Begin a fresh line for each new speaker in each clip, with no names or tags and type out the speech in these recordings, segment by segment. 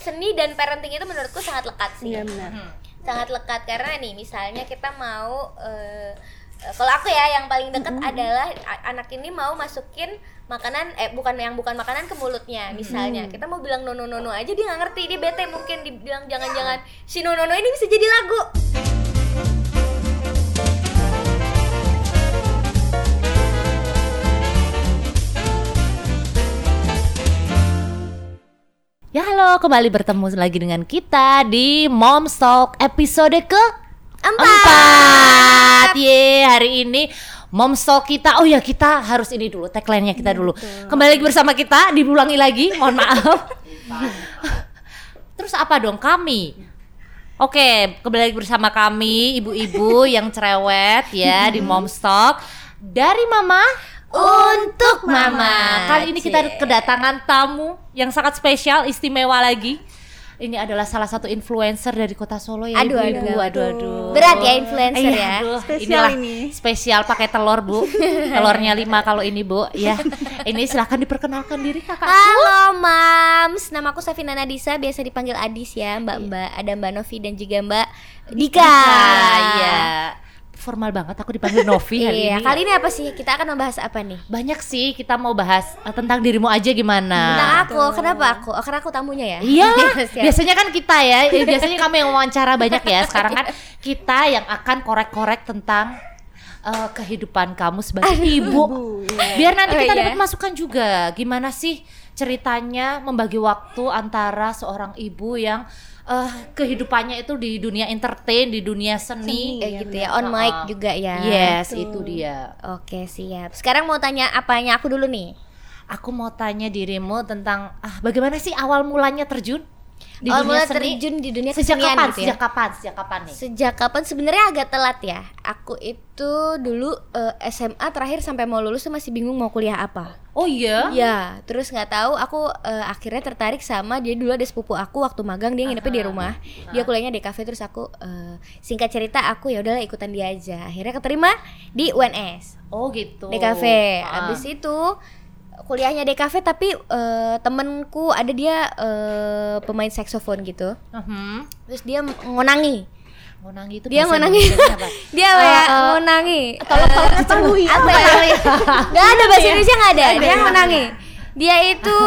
seni dan parenting itu menurutku sangat lekat sih
Iya benar.
sangat lekat karena nih misalnya kita mau eh, eh, kalau aku ya yang paling dekat
Mm-hmm.
adalah a- anak ini mau masukin makanan eh bukan yang bukan makanan ke mulutnya
Mm-hmm.
misalnya kita mau bilang nono nono aja dia nggak ngerti dia bete mungkin dibilang jangan jangan si nono nono ini bisa jadi lagu
Ya halo, kembali bertemu lagi dengan kita di Mom Talk episode ke empat. Ye, hari ini Mom Talk kita. Oh ya, kita harus ini dulu tagline-nya kita dulu. Kembali lagi bersama kita, diulangi lagi. Mohon maaf. Terus apa dong kami? Oke, kembali lagi bersama kami ibu-ibu yang cerewet ya di Mom Talk dari Mama
untuk
Mama, kali ini kita kedatangan tamu yang sangat spesial, istimewa lagi. Ini adalah salah satu influencer dari kota Solo ya,
Aduh,
ibu-ibu.
aduh,
aduh, aduh.
berat ya influencer
Iya,
ya
aduh,
Spesial
inilah
ini.
Spesial pakai telur bu, telurnya lima kalau ini bu. Ya, ini silahkan diperkenalkan diri kakak.
Halo Mams, nama aku Safina Nadisa, biasa dipanggil Adis ya,
Iya.
Mbak-mbak. Ada Mbak Novi dan juga Mbak Dika.
Ah, Iya, formal banget aku dipanggil Novi hari
Iya,
ini.
kali ini apa sih? Kita akan membahas apa nih?
Banyak sih kita mau bahas eh, tentang dirimu aja gimana.
Tentang aku, kenapa aku? Oh, karena aku tamunya ya?
Ah. Iya,
Siap.
biasanya kan kita ya, eh, biasanya kamu yang wawancara banyak ya. Sekarang kan kita yang akan korek-korek tentang eh, kehidupan kamu sebagai ibu. Biar nanti
Oh,
kita
iya.
dapat masukan juga, gimana sih ceritanya membagi waktu antara seorang ibu yang eh, kehidupannya itu di dunia entertain, di dunia seni,
Kayak
Iya,
gitu ya, on mic
Heeh.
juga ya.
Yes,
Betul.
itu dia.
Oke, siap. Sekarang mau tanya apanya aku dulu nih.
Aku mau tanya dirimu tentang ah, bagaimana sih awal mulanya terjun di
Awal
dunia
mula
seni?
terjun di dunia
sejak
kesenian gitu
kapan?
ya?
Sejak kapan? Sejak kapan nih?
Sejak kapan sebenarnya agak telat ya. Aku itu dulu eh, SMA terakhir sampai mau lulus tuh masih bingung mau kuliah apa.
Oh iya.
Ya, terus nggak tahu aku eh, akhirnya tertarik sama dia dulu ada sepupu aku waktu magang dia nginepnya di rumah. Dia kuliahnya di kafe terus aku eh, singkat cerita aku ya udahlah ikutan dia aja. Akhirnya keterima di UNS
Oh gitu.
di kafe.
Ah.
Abis itu kuliahnya di kafe tapi eh, temenku ada dia eh, pemain saksofon gitu.
Mhm.
Terus dia ngonangi.
Ngonangi itu
Dia
bahasa
ngonangi.
Indonesianya apa? Eh,
Dia kayak ngonangi.
Tolong tolong
Diceluhi.
apa ya? Gak ada
Iya.
bahasa Indonesia gak ada. Dia yang menangi. Dia itu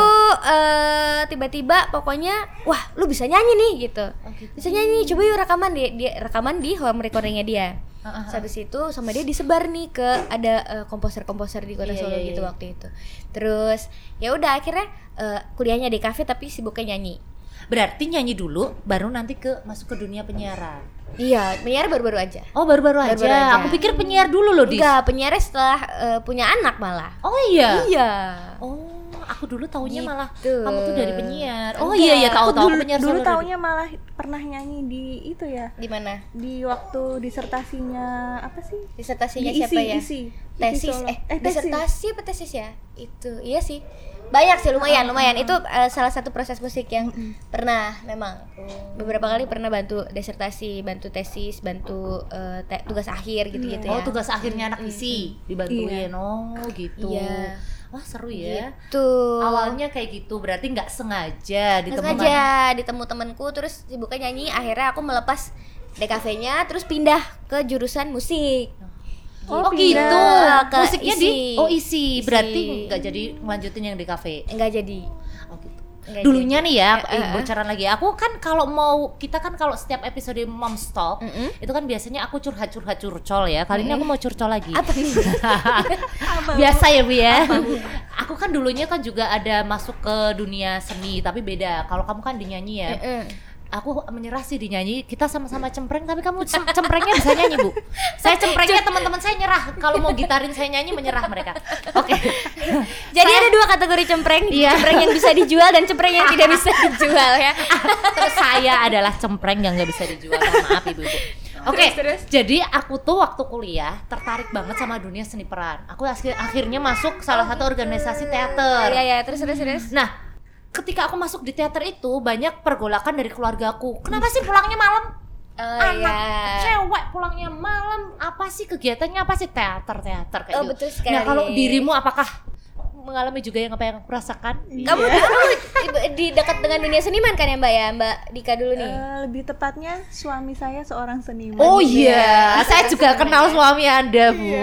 eh, tiba-tiba pokoknya wah lu bisa nyanyi nih gitu. Bisa nyanyi, coba yuk rekaman dia, dia rekaman di home recordingnya dia.
Ah, ah,
Terus Habis itu sama dia disebar nih ke ada eh, komposer-komposer di kota
Iya,
Solo
iya, iya,
gitu
iya.
waktu itu. Terus ya udah akhirnya eh, kuliahnya di kafe tapi sibuknya nyanyi.
Berarti nyanyi dulu baru nanti ke masuk ke dunia penyiaran.
Iya, penyiar baru-baru aja.
Oh baru-baru aja.
Baru-baru aja.
Aku pikir penyiar dulu loh di.
Enggak, penyiar setelah eh, punya anak malah.
Oh iya.
Iya.
Oh aku dulu taunya
Gitu.
malah kamu tuh dari penyiar. Oh
Enggak.
iya iya tahu
Aku
tahu
dulu,
penyiar
dulu
Solo
taunya malah pernah nyanyi di itu ya
Di mana?
di waktu disertasinya apa sih?
disertasinya
Di
siapa
isi-
ya?
isi. Isi
Tesis
Solo.
eh,
Eh, tesis.
disertasi apa tesis ya? Itu. Iya sih. Banyak sih lumayan, lumayan. Itu eh, salah satu proses musik yang pernah memang beberapa kali pernah bantu disertasi, bantu tesis, bantu eh, te- tugas akhir gitu-gitu
Oh
ya.
tugas akhirnya anak isi dibantuin. Oh gitu.
Iya.
Wah seru ya.
Tuh.
Awalnya kayak gitu berarti nggak sengaja
Nggak
ditemukan.
sengaja ditemu temanku terus sibuknya nyanyi, akhirnya aku melepas DKV-nya terus pindah ke jurusan musik.
pindah.
Oh, gitu.
ke
Musiknya di
isi.
Oh isi,
Isi.
berarti nggak jadi ngelanjutin yang di kafe.
Enggak jadi.
Oh gitu.
Nggak
Dulunya nih ya,
Eh,
eh,
eh.
bocoran lagi. Aku kan kalau mau kita kan kalau setiap episode Mom Talk
Mm-mm.
itu kan biasanya aku curhat-curhat curcol ya. Kali ini aku mau curcol lagi.
Apa nih?
Biasa ya bu ya. aku kan dulunya kan juga ada masuk ke dunia seni tapi beda. Kalau kamu kan dinyanyi ya.
Heeh.
Aku menyerah sih dinyanyi. Kita sama-sama cempreng tapi kamu cem- cemprengnya bisa nyanyi, Bu. Saya cemprengnya teman-teman saya nyerah. Kalau mau gitarin saya nyanyi menyerah mereka. Oke. Iya.
Jadi ada dua kategori cempreng, cempreng yang bisa dijual dan cempreng yang tidak bisa dijual ya.
Terus saya adalah cempreng yang nggak bisa dijual. Mohon Maaf ibu-ibu. Oke,
Terus, terus.
jadi aku tuh waktu kuliah tertarik banget sama dunia seni peran. Aku akhir- akhirnya masuk salah satu organisasi teater.
Iya ya, terus terus terus.
Nah, ketika aku masuk di teater itu banyak pergolakan dari keluargaku. Kenapa sih pulangnya malam?
Oh
Anak
iya.
cewek pulangnya malam. Apa sih kegiatannya? Apa sih teater teater
Oh,
kayak gitu.
betul sekali.
Nah, kalau dirimu apakah mengalami juga yang apa yang aku rasakan.
Iya.
Kamu
Eh,
dulu di- di dekat dengan dunia seniman kan ya Mbak ya, Mbak Dika dulu nih.
Eh, lebih tepatnya suami saya seorang seniman. gitu ya.
Oh iya, saya juga kenal suami Anda, Bu.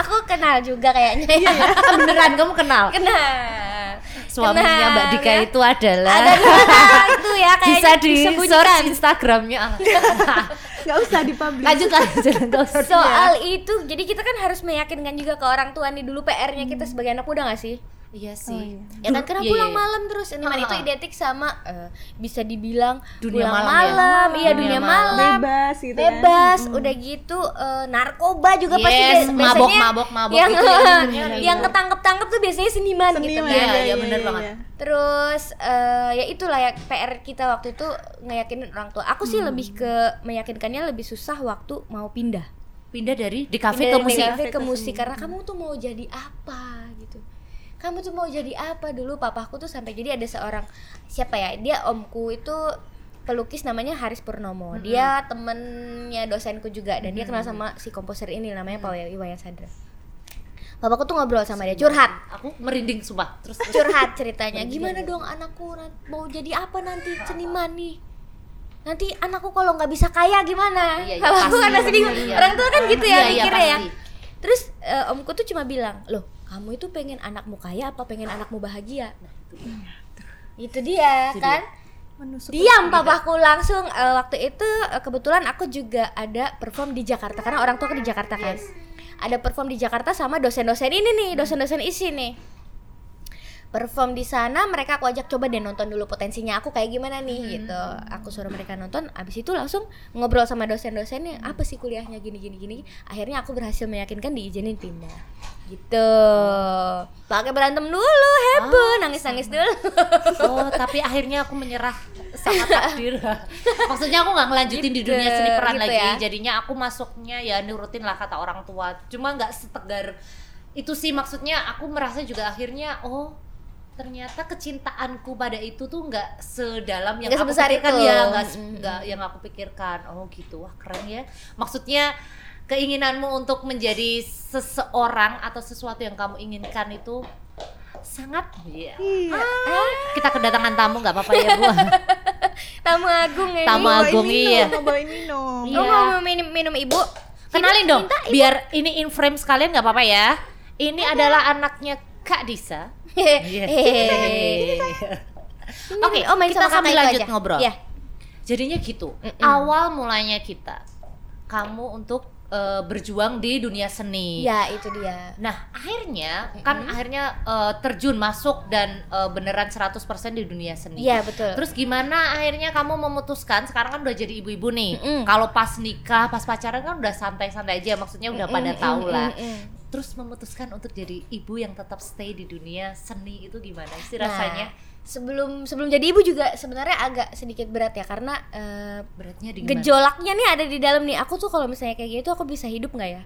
Aku kenal juga kayaknya. ya.
Iya. Beneran kamu kenal?
Kenal.
Suaminya
Kenal,
Mbak Dika
ya.
itu adalah
ada di mana itu ya kayaknya
bisa di
disembunyikan.
search Instagramnya.
Nggak usah dipublish.
lanjut lanjut nggak usah.
Soal itu, jadi kita kan harus meyakinkan juga ke orang tua nih dulu PR-nya kita sebagai anak muda gak sih?
Iya sih.
Ya kan karena
Iya,
pulang
iya.
malam terus Nah. ini
Ha-ha.
itu identik sama eh, bisa dibilang
Dunia
pulang
malam ya?
malam, iya
Dunia
dunia
malam.
malam.
Hmm.
bebas gitu kan.
bebas udah gitu eh, narkoba juga pasti
Yes,
bias-
mabok,
biasanya
mabok, mabok
yang
gitu ya, bener-bener ya,
yang
bener.
ketangkep tangkep tuh biasanya seniman, gitu
Seniman,
kan
Iya, iya, bener banget.
terus eh, ya itulah ya PR kita waktu itu ngeyakinin orang tua aku
Hmm.
sih lebih ke meyakinkannya lebih susah waktu mau pindah
Pindah dari di kafe
Pindah
ke
dari
musik.
kafe ke
Ke
musik
seni.
karena kamu tuh mau jadi apa gitu kamu tuh mau jadi apa dulu papaku tuh sampai jadi ada seorang siapa ya dia omku itu pelukis namanya Haris Purnomo dia temennya dosenku juga dan dia kenal sama si komposer ini namanya Pak Iwayan Sadra papaku tuh ngobrol sama dia curhat
Aku merinding sumpah. Terus terus.
curhat ceritanya gimana dong anakku na- mau jadi apa nanti seniman nih nanti anakku kalau nggak bisa kaya gimana
Iya, iya,
Kalau aku
pasti.
kan pasti bingung.
Iya, iya.
orang tua kan gitu ya
Iya, iya,
mikirnya ya
pasti.
terus eh, omku tuh cuma bilang loh kamu itu pengen anakmu kaya apa pengen anakmu bahagia nah, itu dia
Itu dia.
kan
Menusuk
diam papaku langsung eh, waktu itu eh, kebetulan aku juga ada perform di Jakarta karena orang tua aku di Jakarta kan ada perform di Jakarta sama dosen-dosen ini nih dosen-dosen isi nih perform di sana mereka aku ajak coba deh nonton dulu potensinya aku kayak gimana nih gitu aku suruh mereka nonton abis itu langsung ngobrol sama dosen-dosennya apa sih kuliahnya gini gini gini akhirnya aku berhasil meyakinkan diizinin pindah gitu pakai berantem dulu heboh nangis nangis dulu
Oh, tapi akhirnya aku menyerah sama takdir. Maksudnya aku nggak ngelanjutin di
Gitu,
dunia seni peran
gitu
lagi.
ya.
Jadinya aku masuknya ya nurutin lah kata orang tua. Cuma nggak setegar itu sih maksudnya aku merasa juga akhirnya oh ternyata kecintaanku pada itu tuh nggak sedalam yang
Nggak
aku
sebesar
pikirkan
itu.
ya nggak se-
Mm-mm.
nggak yang aku pikirkan oh gitu wah keren ya maksudnya keinginanmu untuk menjadi seseorang atau sesuatu yang kamu inginkan itu sangat ya
Iya.
kita kedatangan tamu nggak apa-apa ya bu
Tamu Agung ini.
Tamu
Bawain
Agung,
minum,
iya.
Bawain minum.
Lu
Iya.
Oh, mau minum, minum ibu? Minum,
kenalin dong
minta Iya. ibu.
biar ini in frame sekalian nggak apa-apa ya ini adalah anaknya kak Disa
Iya. Hehehe.
Iya. oke
oh main sama
kita
kakak
sambil
itu
lanjut
aja.
ngobrol
Iya.
jadinya gitu
Mm-mm.
awal mulanya kita kamu untuk eh, berjuang di dunia seni
Ya itu dia.
Nah, akhirnya kan akhirnya eh, terjun masuk dan eh, beneran 100% di dunia seni.
Iya betul.
Terus gimana akhirnya kamu memutuskan sekarang kan udah jadi ibu-ibu nih.
Mm-mm.
Kalau pas nikah, pas pacaran kan udah santai-santai aja maksudnya udah pada
Mm-mm,
tahu lah.
mm-mm, mm-mm.
Terus memutuskan untuk jadi ibu yang tetap stay di dunia seni itu gimana sih
Nah,
rasanya?
sebelum sebelum jadi ibu juga sebenarnya agak sedikit berat ya karena eh,
Beratnya di gimana?
gejolaknya nih ada di dalam nih. Aku tuh kalau misalnya kayak gitu aku bisa hidup nggak ya?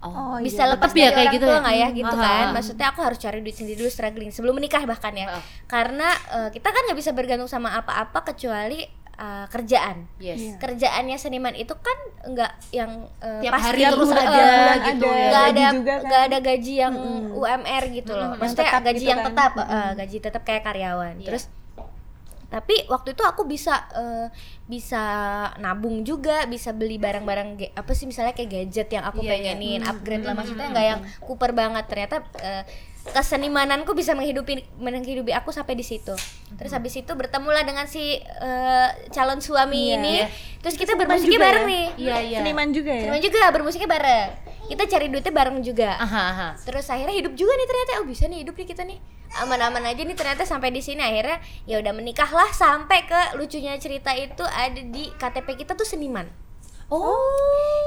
Oh.
Oh,
bisa
iya.
lepas
Tetep ya
dari
kayak
orang
gitu
tua
ya?
nggak ya gitu
Hmm.
kan
Ah.
maksudnya aku harus cari duit sendiri dulu struggling sebelum menikah bahkan ya
Ah.
karena eh, kita kan nggak bisa bergantung sama apa-apa kecuali eh, kerjaan
Yes.
Iya.
kerjaannya seniman itu kan nggak yang eh,
Tiap
pasti
hari
yang
terus
bulan-
ada
eh,
bulan
gitu
ada,
nggak
ya.
ada
gaji juga kan.
nggak ada gaji yang
Mm-mm.
UMR gitu loh
Mm-mm, yang
maksudnya
tetap
gaji
gitu
yang
kan.
tetap eh,
Mm-mm.
gaji tetap kayak karyawan
Iya.
terus tapi waktu itu aku bisa eh, bisa nabung juga bisa beli barang-barang ge- apa sih misalnya kayak gadget yang aku
Iya, iya.
pengenin
Mm-mm.
upgrade lah maksudnya nggak yang kuper banget ternyata eh, kesenimananku bisa menghidupi menghidupi aku sampai di situ terus habis itu bertemulah dengan si eh, calon suami
Iya.
ini
Iya.
terus kita
Seniman
bermusiknya
juga
bareng
ya?
nih
Iya, iya.
Seniman juga ya.
Seniman juga bermusiknya bareng. Kita cari duitnya bareng juga.
Aha, aha.
Terus akhirnya hidup juga nih ternyata. Oh, bisa nih hidup nih kita nih. Aman-aman aja nih ternyata sampai di sini akhirnya ya udah menikah lah sampai ke lucunya cerita itu ada di KTP kita tuh seniman.
Oh.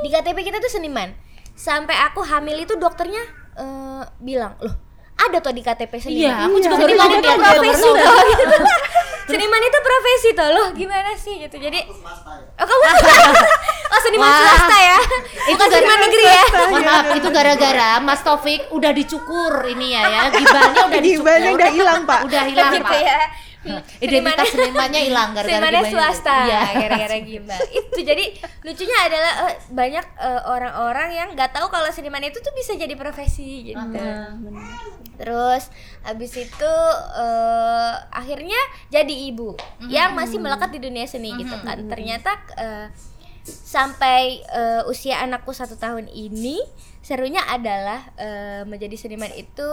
Di KTP kita tuh seniman. Sampai aku hamil itu dokternya eh, bilang, "Loh, ada tuh di KTP seniman."
Iya, aku juga
Iya.
baru
Seniman
tahu
itu
dia juga baru
profesi
tahu.
loh. seniman itu profesi tuh loh. Gimana sih gitu. Jadi Oh, kamu Oh, seniman
Wah.
swasta ya. Bukan
gara-
seniman negeri ya.
Mohon maaf, itu gara-gara Mas Taufik udah dicukur ini ya ya. Gibahnya udah dicukur.
Gibahnya udah hilang, Pak.
Udah hilang,
gitu
Pak.
ya.
identitas senimannya hilang gara-gara
Senimannya
dimainin.
swasta
Iya.
gara-gara gimbal itu jadi lucunya adalah eh, banyak eh, orang-orang yang nggak tahu kalau seniman itu tuh bisa jadi profesi gitu
Aha.
terus habis itu eh, akhirnya jadi ibu
Mm-hmm.
yang masih melekat di dunia seni gitu kan ternyata eh, sampai eh, usia anakku satu tahun ini serunya adalah eh, menjadi seniman itu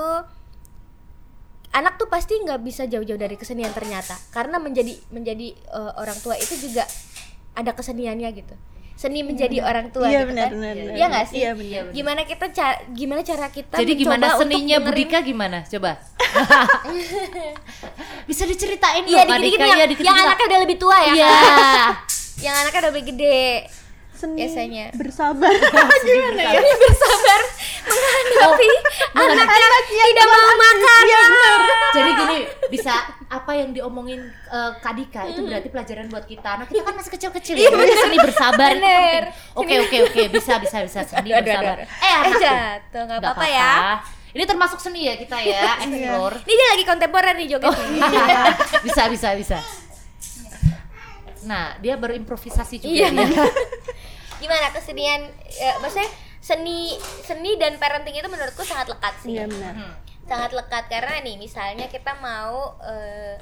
anak tuh pasti nggak bisa jauh-jauh dari kesenian ternyata karena menjadi menjadi eh, orang tua itu juga ada keseniannya gitu seni menjadi
Mm-hmm.
orang tua
Iya
gitu
benar
kan
benar. benar.
Iya nggak sih
Iya benar.
benar.
gimana kita ca- gimana cara kita
Jadi
mencoba
gimana
untuk
seninya
dengerin-
Budika gimana? Coba. Bisa diceritain
Iya
dong,
dikit-dikit
Adika.
yang,
Iya, dikit-dikit
yang
lah.
anaknya udah lebih tua ya.
Iya.
yang anaknya udah lebih gede.
Seni
Biasanya.
bersabar.
Gimana ya? Oh, Dia bersabar menghadapi anaknya tidak mau makan.
Iya benar.
Jadi gini, bisa apa yang diomongin eh, Kak Dika itu berarti pelajaran buat kita. Nah, kita kan masih kecil-kecil ya. Jadi seni bersabar itu
Iya, Bener.
penting. Oke, oke, oke, bisa bisa bisa seni
Aduh, aduh,
bersabar.
aduh.
Eh,
Eh
anakku.
jatuh nggak
Nggak
apa-apa ya. Iya.
Ini termasuk seni ya kita ya, explore.
Ini dia lagi kontemporer nih joget. nih.
bisa bisa bisa. Nah, dia berimprovisasi juga.
Iya.
ya.
Gimana kesenian? eh, maksudnya seni seni dan parenting itu menurutku sangat lekat sih.
Iya benar.
Hmm.
sangat lekat karena nih misalnya kita mau eh,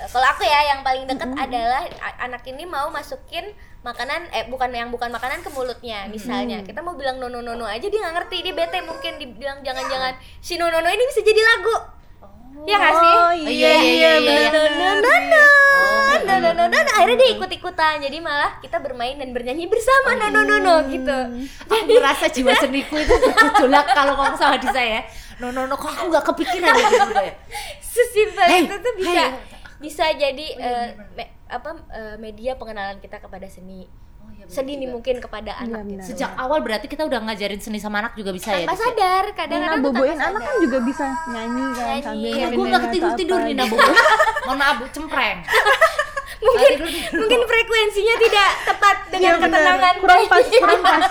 eh, kalau aku ya yang paling dekat adalah a- anak ini mau masukin makanan eh bukan yang bukan makanan ke mulutnya misalnya kita mau bilang nono nono
Oh.
aja dia nggak ngerti dia bete mungkin dibilang jangan jangan si nono nono ini bisa jadi lagu ya nggak sih
Oh
iya,
iya
iya,
iya
iya, iya.
benar.
Nononono,
Oh.
nononono. akhirnya dia ikut ikutan jadi malah kita bermain dan bernyanyi bersama nono nono gitu
Aku merasa jiwa seniku itu bergejolak kalau ngomong sama Disa ya. No no no, kok aku gak kepikiran ya gitu ya.
sesimpel
Hey,
itu tuh bisa
hey.
bisa jadi
Oh, iya,
eh, me- apa eh, media pengenalan kita kepada seni
Oh, iya, bener
sedini
juga.
mungkin kepada anak
Iya, benar.
Sejak awal berarti kita udah ngajarin seni sama anak juga bisa ya.
tanpa
Disa?
sadar
Nina
kadang-kadang tuh tanpa
boboin anak
sadar.
kan juga bisa nyanyi kan
Nyanyi. Iya,
sambil
Nah,
dengerin
gue gak
atau
ketidur tidur
apa. Iya,
Nina Bobo. Mau nabu cempreng.
mungkin
Nggak tidur.
mungkin frekuensinya tidak tepat dengan
Iya benar.
ketenangan
Kurang pas,
Iya.
kurang pas.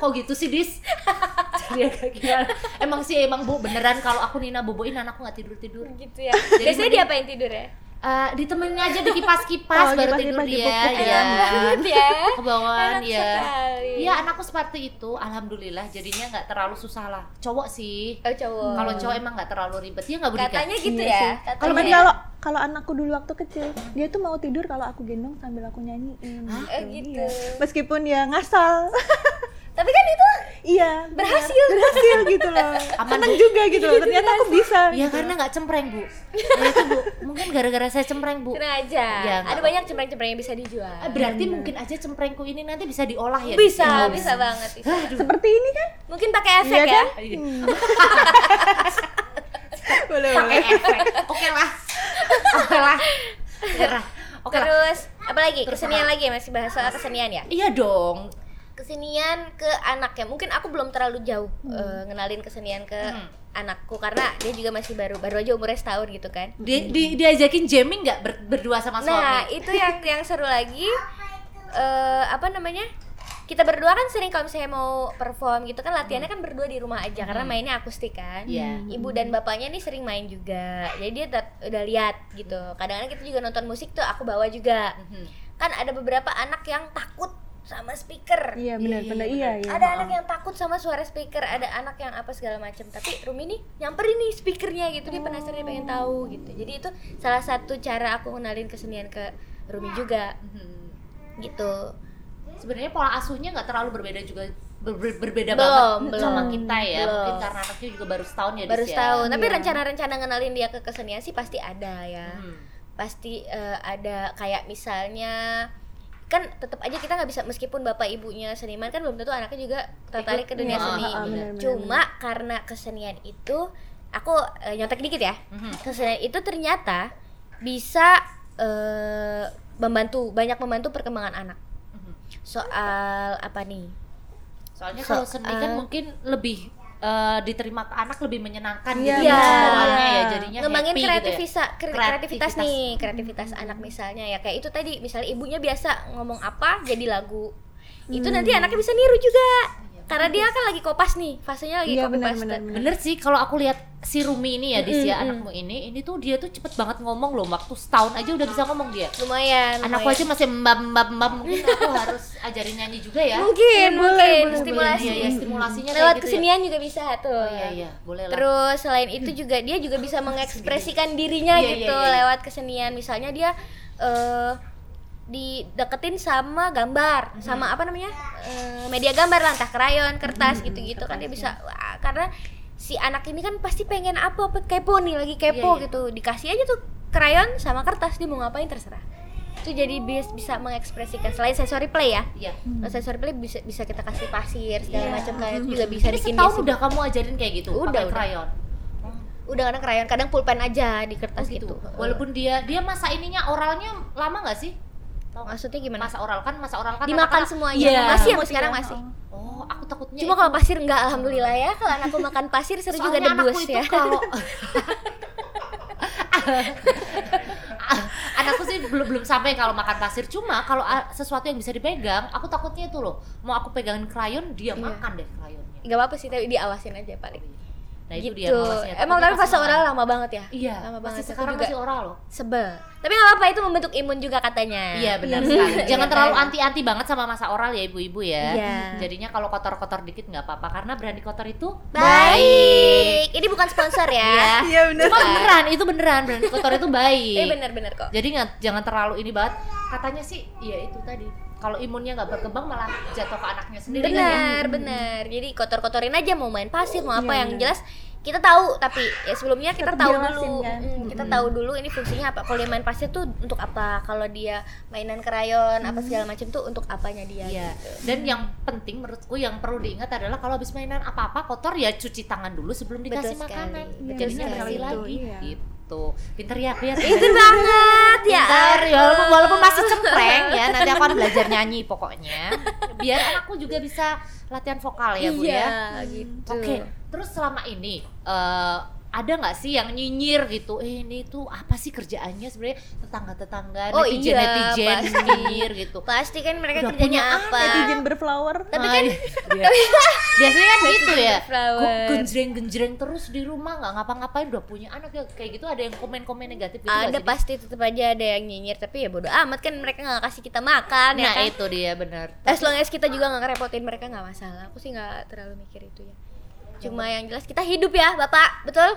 Kok gitu sih Dis? Jadi agak gimana? Emang sih emang Bu beneran kalau aku Nina Boboin anakku gak tidur tidur.
gitu ya biasanya
mending-
diapain tidur ya
Eh ditemenin aja
Oh,
di kipas-kipas baru
kipas-kipas
tidur dia.
dipupuk ya.
ya.
Banget ya
Kebawaan
Enak
ya.
sekali.
Iya anakku seperti itu, alhamdulillah jadinya nggak terlalu susah lah. Cowok sih,
oh, cowok
kalau cowok emang nggak terlalu ribet ya nggak budika.
katanya gitu ya
Iya sih. Kalau
katanya.
kalau kalau anakku dulu waktu kecil, dia tuh mau tidur kalau aku gendong sambil aku nyanyiin.
Eh, gitu.
Iya. Meskipun ya ngasal.
tapi kan itu
iya.
Berhasil.
Berhasil gitu loh.
Aman.
Seneng juga gitu loh. Ternyata aku bisa.
Iya karena nggak cempreng bu. Ya, itu bu, mungkin gara-gara saya cempreng bu.
kena aja
Iya, nggak
ada banyak cempreng-cempreng yang bisa dijual
Eh, Berarti mungkin aja cemprengku ini nanti bisa diolah ya.
Iya. bisa bisa banget bisa.
Seperti ini kan?
mungkin pakai efek ya
Iya kan? Hmm. boleh, boleh.
Pakai efek. Oke lah, oke lah, Nyerah. Oke lah.
Terus apa lagi?
Terus
Kesenian lagi ya? masih bahas soal kesenian ya.
Iya dong.
Kesenian ke anaknya. Mungkin aku belum terlalu jauh eh, ngenalin kesenian ke
Hmm.
anakku karena dia juga masih baru baru aja umurnya setahun gitu kan.
Di, di- diajakin jamming nggak ber- berdua sama suami?
Nah, itu yang yang seru lagi eh apa namanya? Kita berdua kan sering kalau misalnya mau perform gitu kan latihannya kan berdua di rumah aja karena mainnya akustik kan.
Hmm. Iya.
Ibu dan bapaknya nih sering main juga. Jadi dia tet- udah lihat gitu.
Hmm.
Kadang-kadang kita juga nonton musik tuh aku bawa juga.
Mhm.
kan ada beberapa anak yang takut sama speaker
Iya benar,
Iya,
benar.
iya,
Iya, iya.
ada anak yang takut sama suara speaker ada anak yang apa segala macam tapi Rumi nih nyamperin nih speakernya gitu dia penasaran dia
Oh.
pengen tahu gitu jadi itu salah satu cara aku kenalin kesenian ke Rumi juga
Mhm.
gitu
sebenarnya pola asuhnya nggak terlalu berbeda juga ber- ber- berbeda
Belum,
banget
belum.
sama kita ya
Belum.
mungkin karena anaknya juga baru setahun ya Dis,
baru
ya?
setahun tapi
Iya.
rencana-rencana kenalin dia ke kesenian sih pasti ada ya
Hmm.
pasti eh, ada kayak misalnya kan tetap aja kita nggak bisa meskipun bapak ibunya seniman kan belum tentu anaknya juga tertarik ke dunia
Iya,
seni
ah, ah,
gitu.
benar-benar.
cuma karena kesenian itu aku eh, nyontek dikit ya
Mhm.
kesenian itu ternyata bisa eh, membantu banyak membantu perkembangan anak
Mhm.
soal apa nih
soalnya kalau seni kan
Soal-
mungkin lebih eh, diterima ke anak lebih menyenangkan
Iya,
gitu
benar.
bawaannya ya jadinya
ngembangin
happy gitu ya.
kreativisa, kre- kreativitas,
Kreativitas.
nih kreativitas anak misalnya ya kayak itu tadi
Hmm.
misalnya ibunya biasa ngomong apa jadi lagu itu nanti anaknya bisa niru juga karena dia kan lagi kopas nih fasenya lagi
Iya,
copy
benar,
paste.
benar, benar.
Iya, Bener sih kalau aku lihat si Rumi ini ya
Mm-mm.
Disia anakmu ini ini tuh dia tuh cepet banget ngomong loh waktu setahun aja udah bisa ngomong dia
lumayan
anakku
lumayan.
aja masih mbak mbak mbak mungkin aku harus ajarin nyanyi juga ya
mungkin
Iya, boleh,
mungkin
boleh,
stimulasi
Iya, iya, stimulasinya
lewat
kayak gitu ya.
kesenian juga bisa tuh
oh iya iya boleh lah
Terus selain itu juga dia juga bisa mengekspresikan dirinya
Hmm. Iya, iya,
gitu
iya.
lewat kesenian. Misalnya dia eh dideketin sama gambar,
Hmm.
sama apa namanya? eh, media gambar lah, entah krayon, kertas
Hmm,
gitu-gitu kan dia
iya.
bisa wah, karena si anak ini kan pasti pengen apa pe- kepo nih, lagi kepo
Iya, iya.
gitu. Dikasih aja tuh krayon sama kertas dia mau ngapain terserah. Itu jadi bis- bisa mengekspresikan selain sensory play ya.
iya
Sensory play bisa bisa kita kasih pasir
Iya.
segala macam kan itu juga bisa
jadi
bikin dia
setahun
senang
udah kamu ajarin kayak gitu
Udah,
pakai
udah.
krayon
udah kadang krayon kadang pulpen aja di kertas
gitu
gitu
walaupun dia dia masa ininya oralnya lama nggak sih
maksudnya gimana
masa oral kan masa oral kan
dimakan
anak-anak-
semuanya
Iya.
masih
Mau
sampai sekarang
tidak,
masih
oh.
oh aku takutnya
cuma kalau pasir enggak alhamdulillah ya kalau anakku makan pasir seru juga
Soalnya anakku
debus
itu
ya
kalau anakku sih belum belum sampai kalau makan pasir cuma kalau a- sesuatu yang bisa dipegang aku takutnya itu loh mau aku pegangin krayon
Iya.
dia makan deh krayonnya
nggak apa-apa sih tapi diawasin aja paling
nah itu
gitu
dia malasnya
emang
Takutnya
tapi fase
pasti
oral
malas.
lama banget ya
iya
lama
masih
banget Aku
sekarang
juga
masih oral loh
sebel tapi nggak apa-apa itu membentuk imun juga katanya
Iya benar
Mm.
sekali. Jangan
Iya,
terlalu
kan?
anti-anti banget sama masa oral ya ibu-ibu ya.
Iya.
Jadinya kalau kotor-kotor dikit nggak apa-apa karena berani kotor itu
baik ini bukan sponsor ya
Iya benar.
Cuma beneran itu beneran berani kotor itu baik.
ini Iya, benar-benar kok
Jadi nggak jangan terlalu ini banget. Katanya sih ya itu tadi. Kalau imunnya nggak berkembang malah jatuh ke anaknya sendiri kan ya.
benar benar jadi kotor-kotorin aja mau main pasir mau apa
Iya,
yang
iya.
jelas kita tahu tapi ya sebelumnya kita
Tetap
tahu
diawasin,
dulu
kan?
Mm, kita tahu dulu ini fungsinya apa kalau dia main pasir tuh untuk apa kalau dia mainan krayon apa segala macam tuh untuk apanya dia
Mm. Iya.
gitu.
Dan yang penting menurutku yang perlu diingat adalah kalau habis mainan apa-apa kotor ya cuci tangan dulu sebelum
Betul
dikasih
sekali.
makanan.
Betul
Jadinya
sekali.
bersih lagi
Iya.
gitu. Pinter ya aku ya.
Pinter banget ya
Pintar, ya walaupun,
ampun.
walaupun masih cempreng ya nanti aku akan belajar nyanyi pokoknya biar anakku juga bisa latihan vokal ya bu
iya,
ya
gitu
oke terus selama ini eh, ada nggak sih yang nyinyir gitu eh, ini tuh apa sih kerjaannya sebenarnya tetangga tetangga
Oh, iya,
netizen netizen
pasti.
nyinyir gitu
pasti kan mereka
Udah
kerjanya
punya
apa Iya.
Netizen berflower.
Tapi
Nah,
kan-
iya. biasanya kan gitu
Iya.
ya
Flower.
genjreng genjreng terus di rumah nggak ngapa-ngapain udah punya anak ya kayak gitu ada yang komen komen negatif gitu nggak
ada
sih, Di?
pasti tetap aja ada yang nyinyir tapi ya bodo amat kan mereka nggak kasih kita makan ya
nah
kan?
itu dia benar
As long as kita juga nggak ngerepotin mereka nggak masalah. Aku sih nggak terlalu mikir itu ya. Cuma yang jelas kita hidup ya, Bapak. Betul?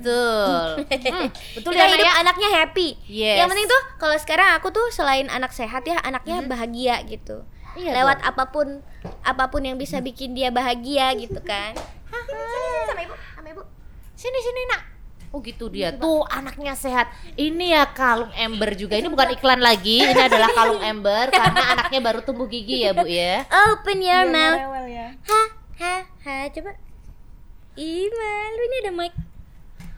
Betul. Hmm, betul
kita
ya, Nak,
hidup
ya?
anaknya happy.
Yes.
Yang penting tuh kalau sekarang aku tuh selain anak sehat ya, anaknya bahagia gitu.
Iya
Lewat apapun apapun yang bisa bikin dia bahagia gitu kan. Sini, sama Ibu, sama Ibu.
Sini sini nak. Oh gitu dia. Tuh anaknya sehat. Ini ya kalung ember juga. Ini bukan iklan lagi. Ini adalah kalung ember karena anaknya baru tumbuh gigi ya bu ya.
Open your
Iya,
mouth.
rewel ya.
Ha, ha, ha. Coba. Ih, malu ini ada mic.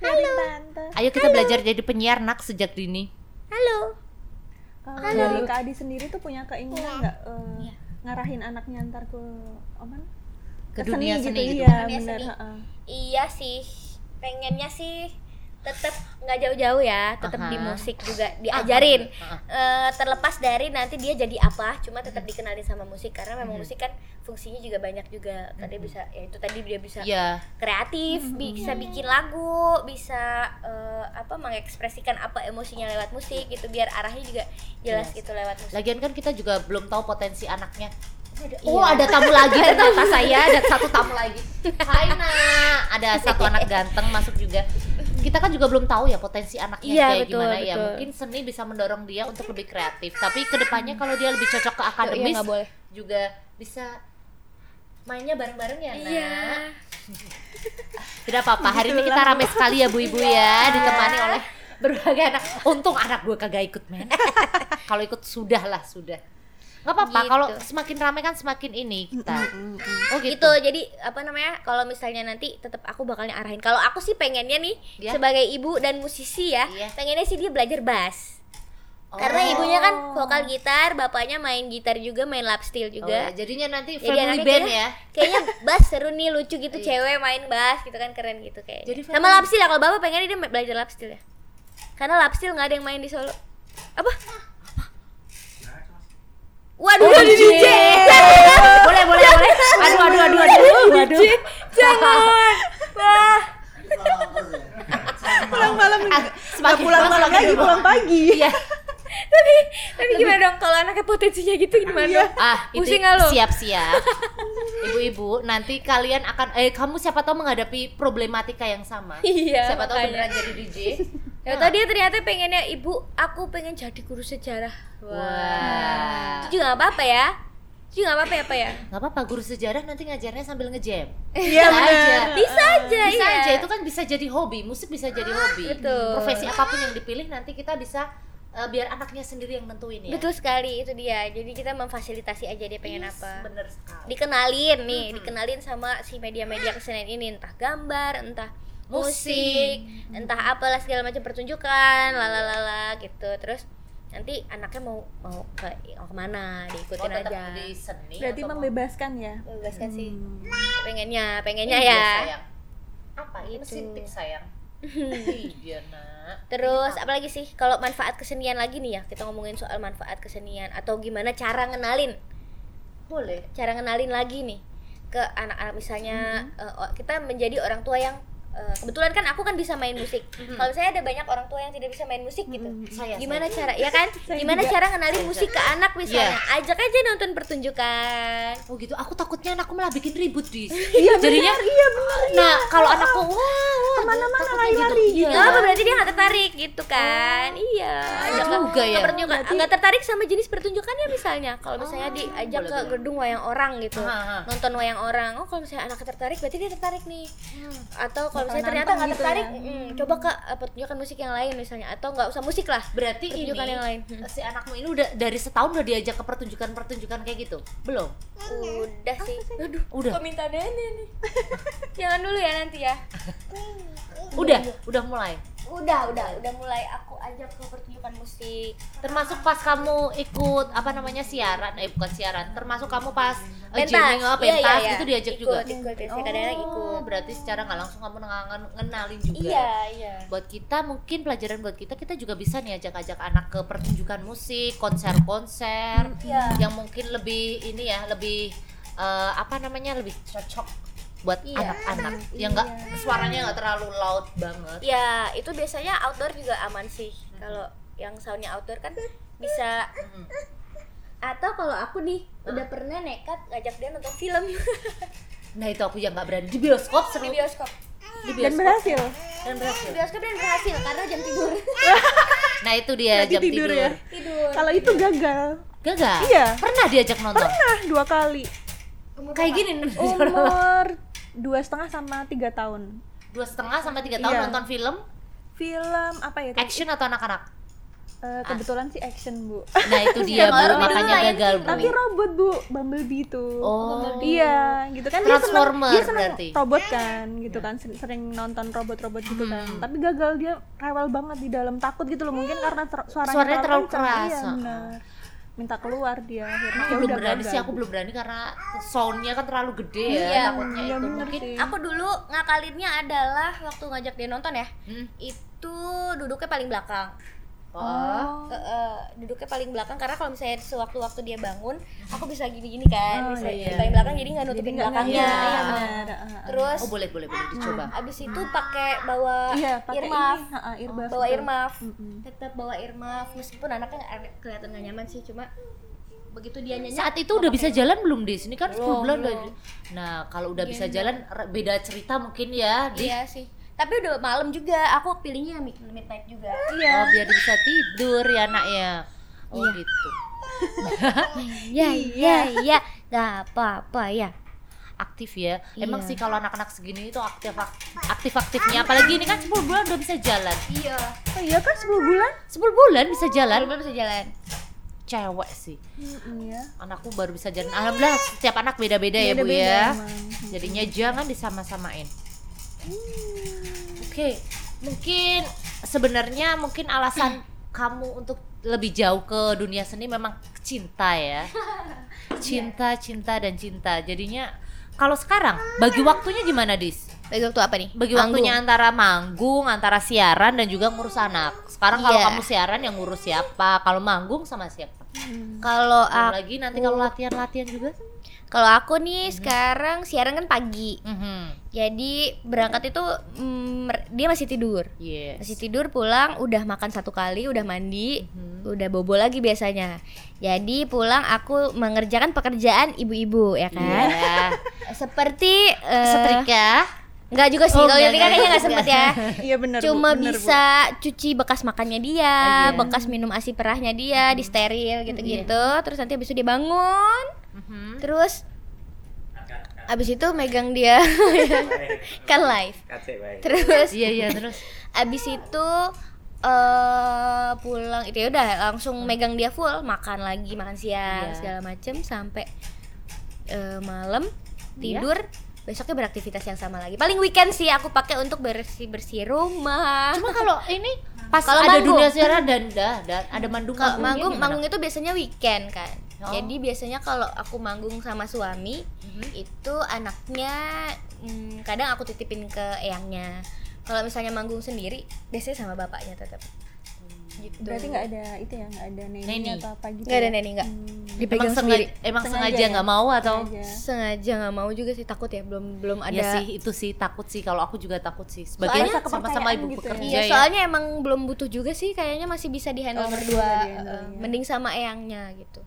Dari tante.
Ayo kita belajar jadi penyiar nak sejak dini.
Halo.
Kalau
Halo.
dari Kak Adi sendiri tuh punya keinginan nggak eh, ngarahin anaknya ntar ke aman?
Ke dunia seni gitu.
Iya,
Dunia
benar.
seni.
heeh.
Iya sih, pengennya sih tetap nggak jauh-jauh ya, tetap
Aha.
di musik juga diajarin.
Aha.
Eh, terlepas dari nanti dia jadi apa, cuma tetap dikenalin sama musik karena memang
Mhm.
musik kan fungsinya juga banyak juga. Tadi bisa, ya itu tadi dia bisa
Iya. Mhm.
kreatif, bisa bikin lagu, bisa eh, apa mengekspresikan apa emosinya lewat musik gitu, biar arahnya juga jelas
Jelas.
gitu lewat musik.
Lagian kan kita juga belum tahu potensi anaknya. Oh
Iya.
ada tamu lagi ternyata saya ada satu tamu lagi. Hai nak, ada
Iya.
satu anak ganteng masuk juga. Kita kan juga belum tahu ya potensi anaknya
Iya,
kayak
betul,
gimana ya.
betul.
Mungkin seni bisa mendorong dia untuk lebih kreatif. Tapi kedepannya kalau dia lebih cocok ke akademis
iya, nggak boleh.
juga bisa mainnya bareng-bareng ya nak. Tidak apa-apa. Hari ini kita rame sekali ya bu-ibu
Iya.
ya, ditemani oleh berbagai anak. Untung anak gue kagak ikut men. Kalau ikut sudah lah sudah. Gak apa-apa.
Gitu.
Kalau semakin rame kan semakin ini kita. Oh gitu.
gitu jadi apa namanya kalau misalnya nanti tetap aku bakalnya arahin kalau aku sih pengennya nih
Iya.
sebagai ibu dan musisi ya
Iya.
pengennya sih dia belajar bass
Oh.
karena ibunya kan vokal gitar bapaknya main gitar juga main lap steel
Oh,
juga
jadinya nanti
jadi
family
anaknya
band
kayaknya,
ya. Iya.
kayaknya bass seru nih lucu gitu cewek main bass gitu kan keren gitu kayaknya
Jadi
sama
family-
lap steel ya kalau bapak pengennya dia ma- belajar lap steel ya karena lap steel nggak ada yang main di Solo apa Waduh, DJ.
Oh, iya. Boleh boleh boleh. Aduh aduh aduh aduh.
anjir jangan wah
Iya, pulang malam nggak
semakin
pulang
tua,
malam
semakin
lagi
tua.
pulang pagi
Iya.
tapi tapi gimana dong kalau anaknya potensinya gitu gimana
Iya.
dong?
Ah, itu
Pusing nggak lo?
siap-siap. Ibu-ibu, nanti kalian akan eh kamu siapa tahu menghadapi problematika yang sama.
Iya,
siapa tahu
makanya.
beneran jadi DJ.
ya tadi ternyata pengennya ibu aku pengen jadi guru sejarah
Wah.
itu juga nggak apa-apa ya itu juga nggak apa-apa ya apa ya
Gak apa-apa, guru sejarah nanti ngajarnya sambil ngejam.
iya
Bisa aja.
benar
bisa aja
Bisa
iya. Ah,
aja, itu kan bisa jadi hobi, musik bisa jadi hobi.
betul.
Profesi apapun yang dipilih nanti kita bisa eh, biar anaknya sendiri yang nentuin ya.
betul sekali itu dia jadi kita memfasilitasi aja dia pengen
Yes,
apa
Bener sekali.
dikenalin nih
Mhm.
dikenalin sama si media-media kesenian ini entah gambar entah
Musik.
musik entah apalah segala macam pertunjukan lalalala gitu terus nanti anaknya mau mau ke mau kemana
Oh,
diikutin
tetap
aja
di seni
berarti
atau mau-
membebaskan ya
bebaskan kan sih
Hmm.
pengennya
Iya,
pengennya ya
sayang. Apa ini
Gitu.
mesin tik sayang? iya, Nak.
terus apalagi sih kalau manfaat kesenian lagi nih ya kita ngomongin soal manfaat kesenian atau gimana cara ngenalin
Boleh.
cara ngenalin lagi nih ke anak-anak misalnya
Mm-hmm.
eh, o- kita menjadi orang tua yang eh, kebetulan kan aku kan bisa main musik
Mhm.
kalau saya ada banyak orang tua yang tidak bisa main musik gitu
Mhm.
Iya, Saya
gimana
saya.
cara ya kan
Saya
gimana
juga.
cara ngenalin musik ke anak misalnya ajak aja nonton pertunjukan
Oh gitu, aku takutnya anakku malah bikin ribut di.
iya
Jadinya
benar iya benar
Nah, kalau anakku wah, wah
Kemana-mana
takutnya
lari-lari
gitu.
nggak apa berarti dia nggak tertarik gitu kan iya ajak ke-
juga
ke
ya.
pertunjukan nggak tertarik sama jenis pertunjukannya misalnya kalau misalnya
Oh,
diajak ke
boleh, boleh.
gedung wayang orang gitu
Aha, aha.
nonton wayang orang oh kalau misalnya anak tertarik berarti dia tertarik nih atau kalau
Bakal
misalnya ternyata
nantang
nggak
gitu
tertarik
ya.
mm, coba ke eh, pertunjukan musik yang lain misalnya atau nggak usah musik lah
Berarti ini eh,
Pertunjukan yang lain. Hmm.
si anakmu ini udah dari setahun udah diajak ke pertunjukan-pertunjukan kayak gitu? Belum.
udah sih aduh
Udah.
kok minta nenek nih jangan dulu ya nanti ya
Udah, udah mulai.
udah udah udah mulai aku ajak ke pertunjukan musik
Termasuk pas kamu ikut apa namanya siaran, eh bukan siaran, termasuk kamu pas
Pentas.
eh, jamming,
Iya,
oh, pentas
iya, iya.
itu diajak
Ikut,
juga.
ikut. Saya kadang-kadang ikut.
Oh, Berarti secara nggak langsung kamu ngenang- ngenalin juga.
iya iya
buat kita mungkin pelajaran buat kita kita juga bisa nih ajak-ajak anak ke pertunjukan musik konser-konser
Iya.
yang mungkin lebih ini ya lebih eh, apa namanya lebih cocok buat
Iya.
anak-anak yang nggak suaranya nggak terlalu loud banget
ya itu biasanya outdoor juga aman sih kalau yang soundnya outdoor kan bisa
Mhm.
atau kalau aku nih udah pernah nekat ngajak dia nonton film
nah itu aku yang nggak berani di bioskop seru
di bioskop
Di
dan
bioskop.
berhasil
Dan berhasil.
di bioskop dan berhasil karena jam tidur
nah itu dia
Berarti
jam tidur,
tidur ya?
tidur
kalau itu gagal
gagal
Iya.
pernah diajak nonton
pernah Oh. dua kali
Umur
kayak
berapa?
gini
umur dua setengah sama tiga tahun
dua setengah sama tiga tahun
Iya.
nonton film
film apa ya tadi?
action atau anak-anak
Eh, kebetulan sih action bu Eh,
nah itu dia
Kalau Iya,
bu
dulu
makanya
lain
gagal bu
tapi robot bu Bumblebee itu
Oh.
iya gitu kan dia seneng,
Transformer
dia seneng
berarti.
robot kan gitu kan sen- sering nonton robot-robot gitu kan
Hmm.
tapi gagal dia rewel banget di dalam takut gitu loh mungkin karena ter- suaranya,
Suaranya terlalu
kencang.
keras,
iya,
heeh.
benar. minta keluar dia akhirnya
aku
ya
belum
udah
berani
gagal.
sih aku belum berani karena soundnya kan terlalu gede ya
Iya,
takutnya
iya
itu
bener
mungkin
sih.
Aku dulu ngakalinnya adalah waktu ngajak dia nonton ya.
Hmm.
Itu duduknya paling belakang. Eh,
oh
eh, duduknya paling belakang karena kalau misalnya sewaktu-waktu dia bangun, aku bisa gini-gini kan.
Oh,
bisa
iya.
di paling belakang jadi nggak
jadi
nutupin
nggak
belakangnya.
iya,
Iya.
benar, heeh.
Terus
oh boleh boleh boleh dicoba
abis itu pakai bawa
iya pakai
earmuff.
ini, heeh, earbuff
Bawa
itu.
earmuff.
Mm-mm.
Tetap bawa earmuff meskipun anaknya nggak- kelihatan nggak nyaman sih, cuma begitu dia nyanyi
saat itu udah bisa jalan belum di sini kan 10
Belum,
bulan udah
belum.
nah kalau udah bisa jalan re- beda cerita mungkin ya di
Iya sih. Tapi udah malam juga, aku pilihnya mid- midnight juga.
oh biar dia bisa tidur ya nak ya oh gitu
Iya, iya, iya. Gak apa-apa ya.
aktif ya emang
Iya.
sih kalau anak-anak segini itu aktif aktif aktifnya apalagi ini kan 10 bulan udah bisa jalan
Iya.
oh iya kan 10 bulan
10 bulan bisa jalan
Belum bisa jalan.
cewek sih
Mm-mm, ya
anakku baru bisa jalan alhamdulillah setiap anak beda-beda ya bu
Beda-beda
ya
emang.
jadinya jangan disama-samain oke mungkin sebenarnya mungkin alasan kamu untuk lebih jauh ke dunia seni memang cinta ya cinta cinta dan cinta jadinya kalau sekarang bagi waktunya gimana dis
Bagi waktu apa nih?
bagi waktunya antara manggung antara siaran dan juga ngurus anak sekarang kalau
Iya.
kamu siaran yang ngurus siapa kalau manggung sama siapa
Kalau
Belum
aku,
lagi nanti kalau latihan-latihan juga
kalau aku nih sekarang siaran kan pagi.
Mm-hmm.
Jadi berangkat itu mm, mer- dia masih tidur.
Yes.
Masih tidur pulang udah makan satu kali, udah mandi, udah bobo lagi biasanya. Jadi pulang aku mengerjakan pekerjaan ibu-ibu ya kan.
Iya.
Seperti eh,
Setrika
Enggak juga sih,
Oh,
kalau
enggak,
Yuli kan
enggak.
kayaknya enggak sempet ya.
Iya benar. Bu,
Cuma
benar, Bu.
bisa cuci bekas makannya dia,
Iya.
bekas minum asi perahnya dia, di steril gitu-gitu. Terus nanti habis itu dia bangun,
Mm-hmm.
terus habis itu megang dia kan live.
Kasih baik.
Terus
Iya iya terus
habis itu eh pulang itu ya udah langsung megang dia full, makan lagi, makan siang
Iya.
segala macem sampai eh, malam
Iya.
tidur. Besoknya beraktivitas yang sama lagi. Paling weekend sih aku pakai untuk bersih-bersih rumah.
Cuma kalau ini pas
Kalau
ada
manggung.
dunia siaran dan dah, dan ada mandung
Kalau
manggungnya
manggung,
gimana?
manggung itu biasanya weekend kan.
Oh.
Jadi biasanya kalau aku manggung sama suami
Mm-hmm.
Mhm.
itu anaknya mm, kadang aku titipin ke eyangnya. Kalau misalnya manggung sendiri biasanya sama bapaknya tetap. Gitu.
Berarti nggak ada itu ya, nggak ada neni,
Neni.
atau apa gitu.
Nggak ada
ya?
neni nggak?
Hmm.
Dipegang
emang
sendiri.
sengaja, emang
Sengaja
sengaja
ya?
nggak mau atau
Iya.
Sengaja nggak mau juga sih takut ya belum belum ada.
ya sih itu sih takut sih kalau aku juga takut sih
Soalnya
sebagai sama-sama
kepercayaan
ibu
gitu ya.
pekerja
Iya,
ya.
soalnya emang belum butuh juga sih kayaknya masih bisa dihandle
Oh, masih
berdua.
bisa dihandle,
eh,
iya.
Mending sama eyangnya gitu.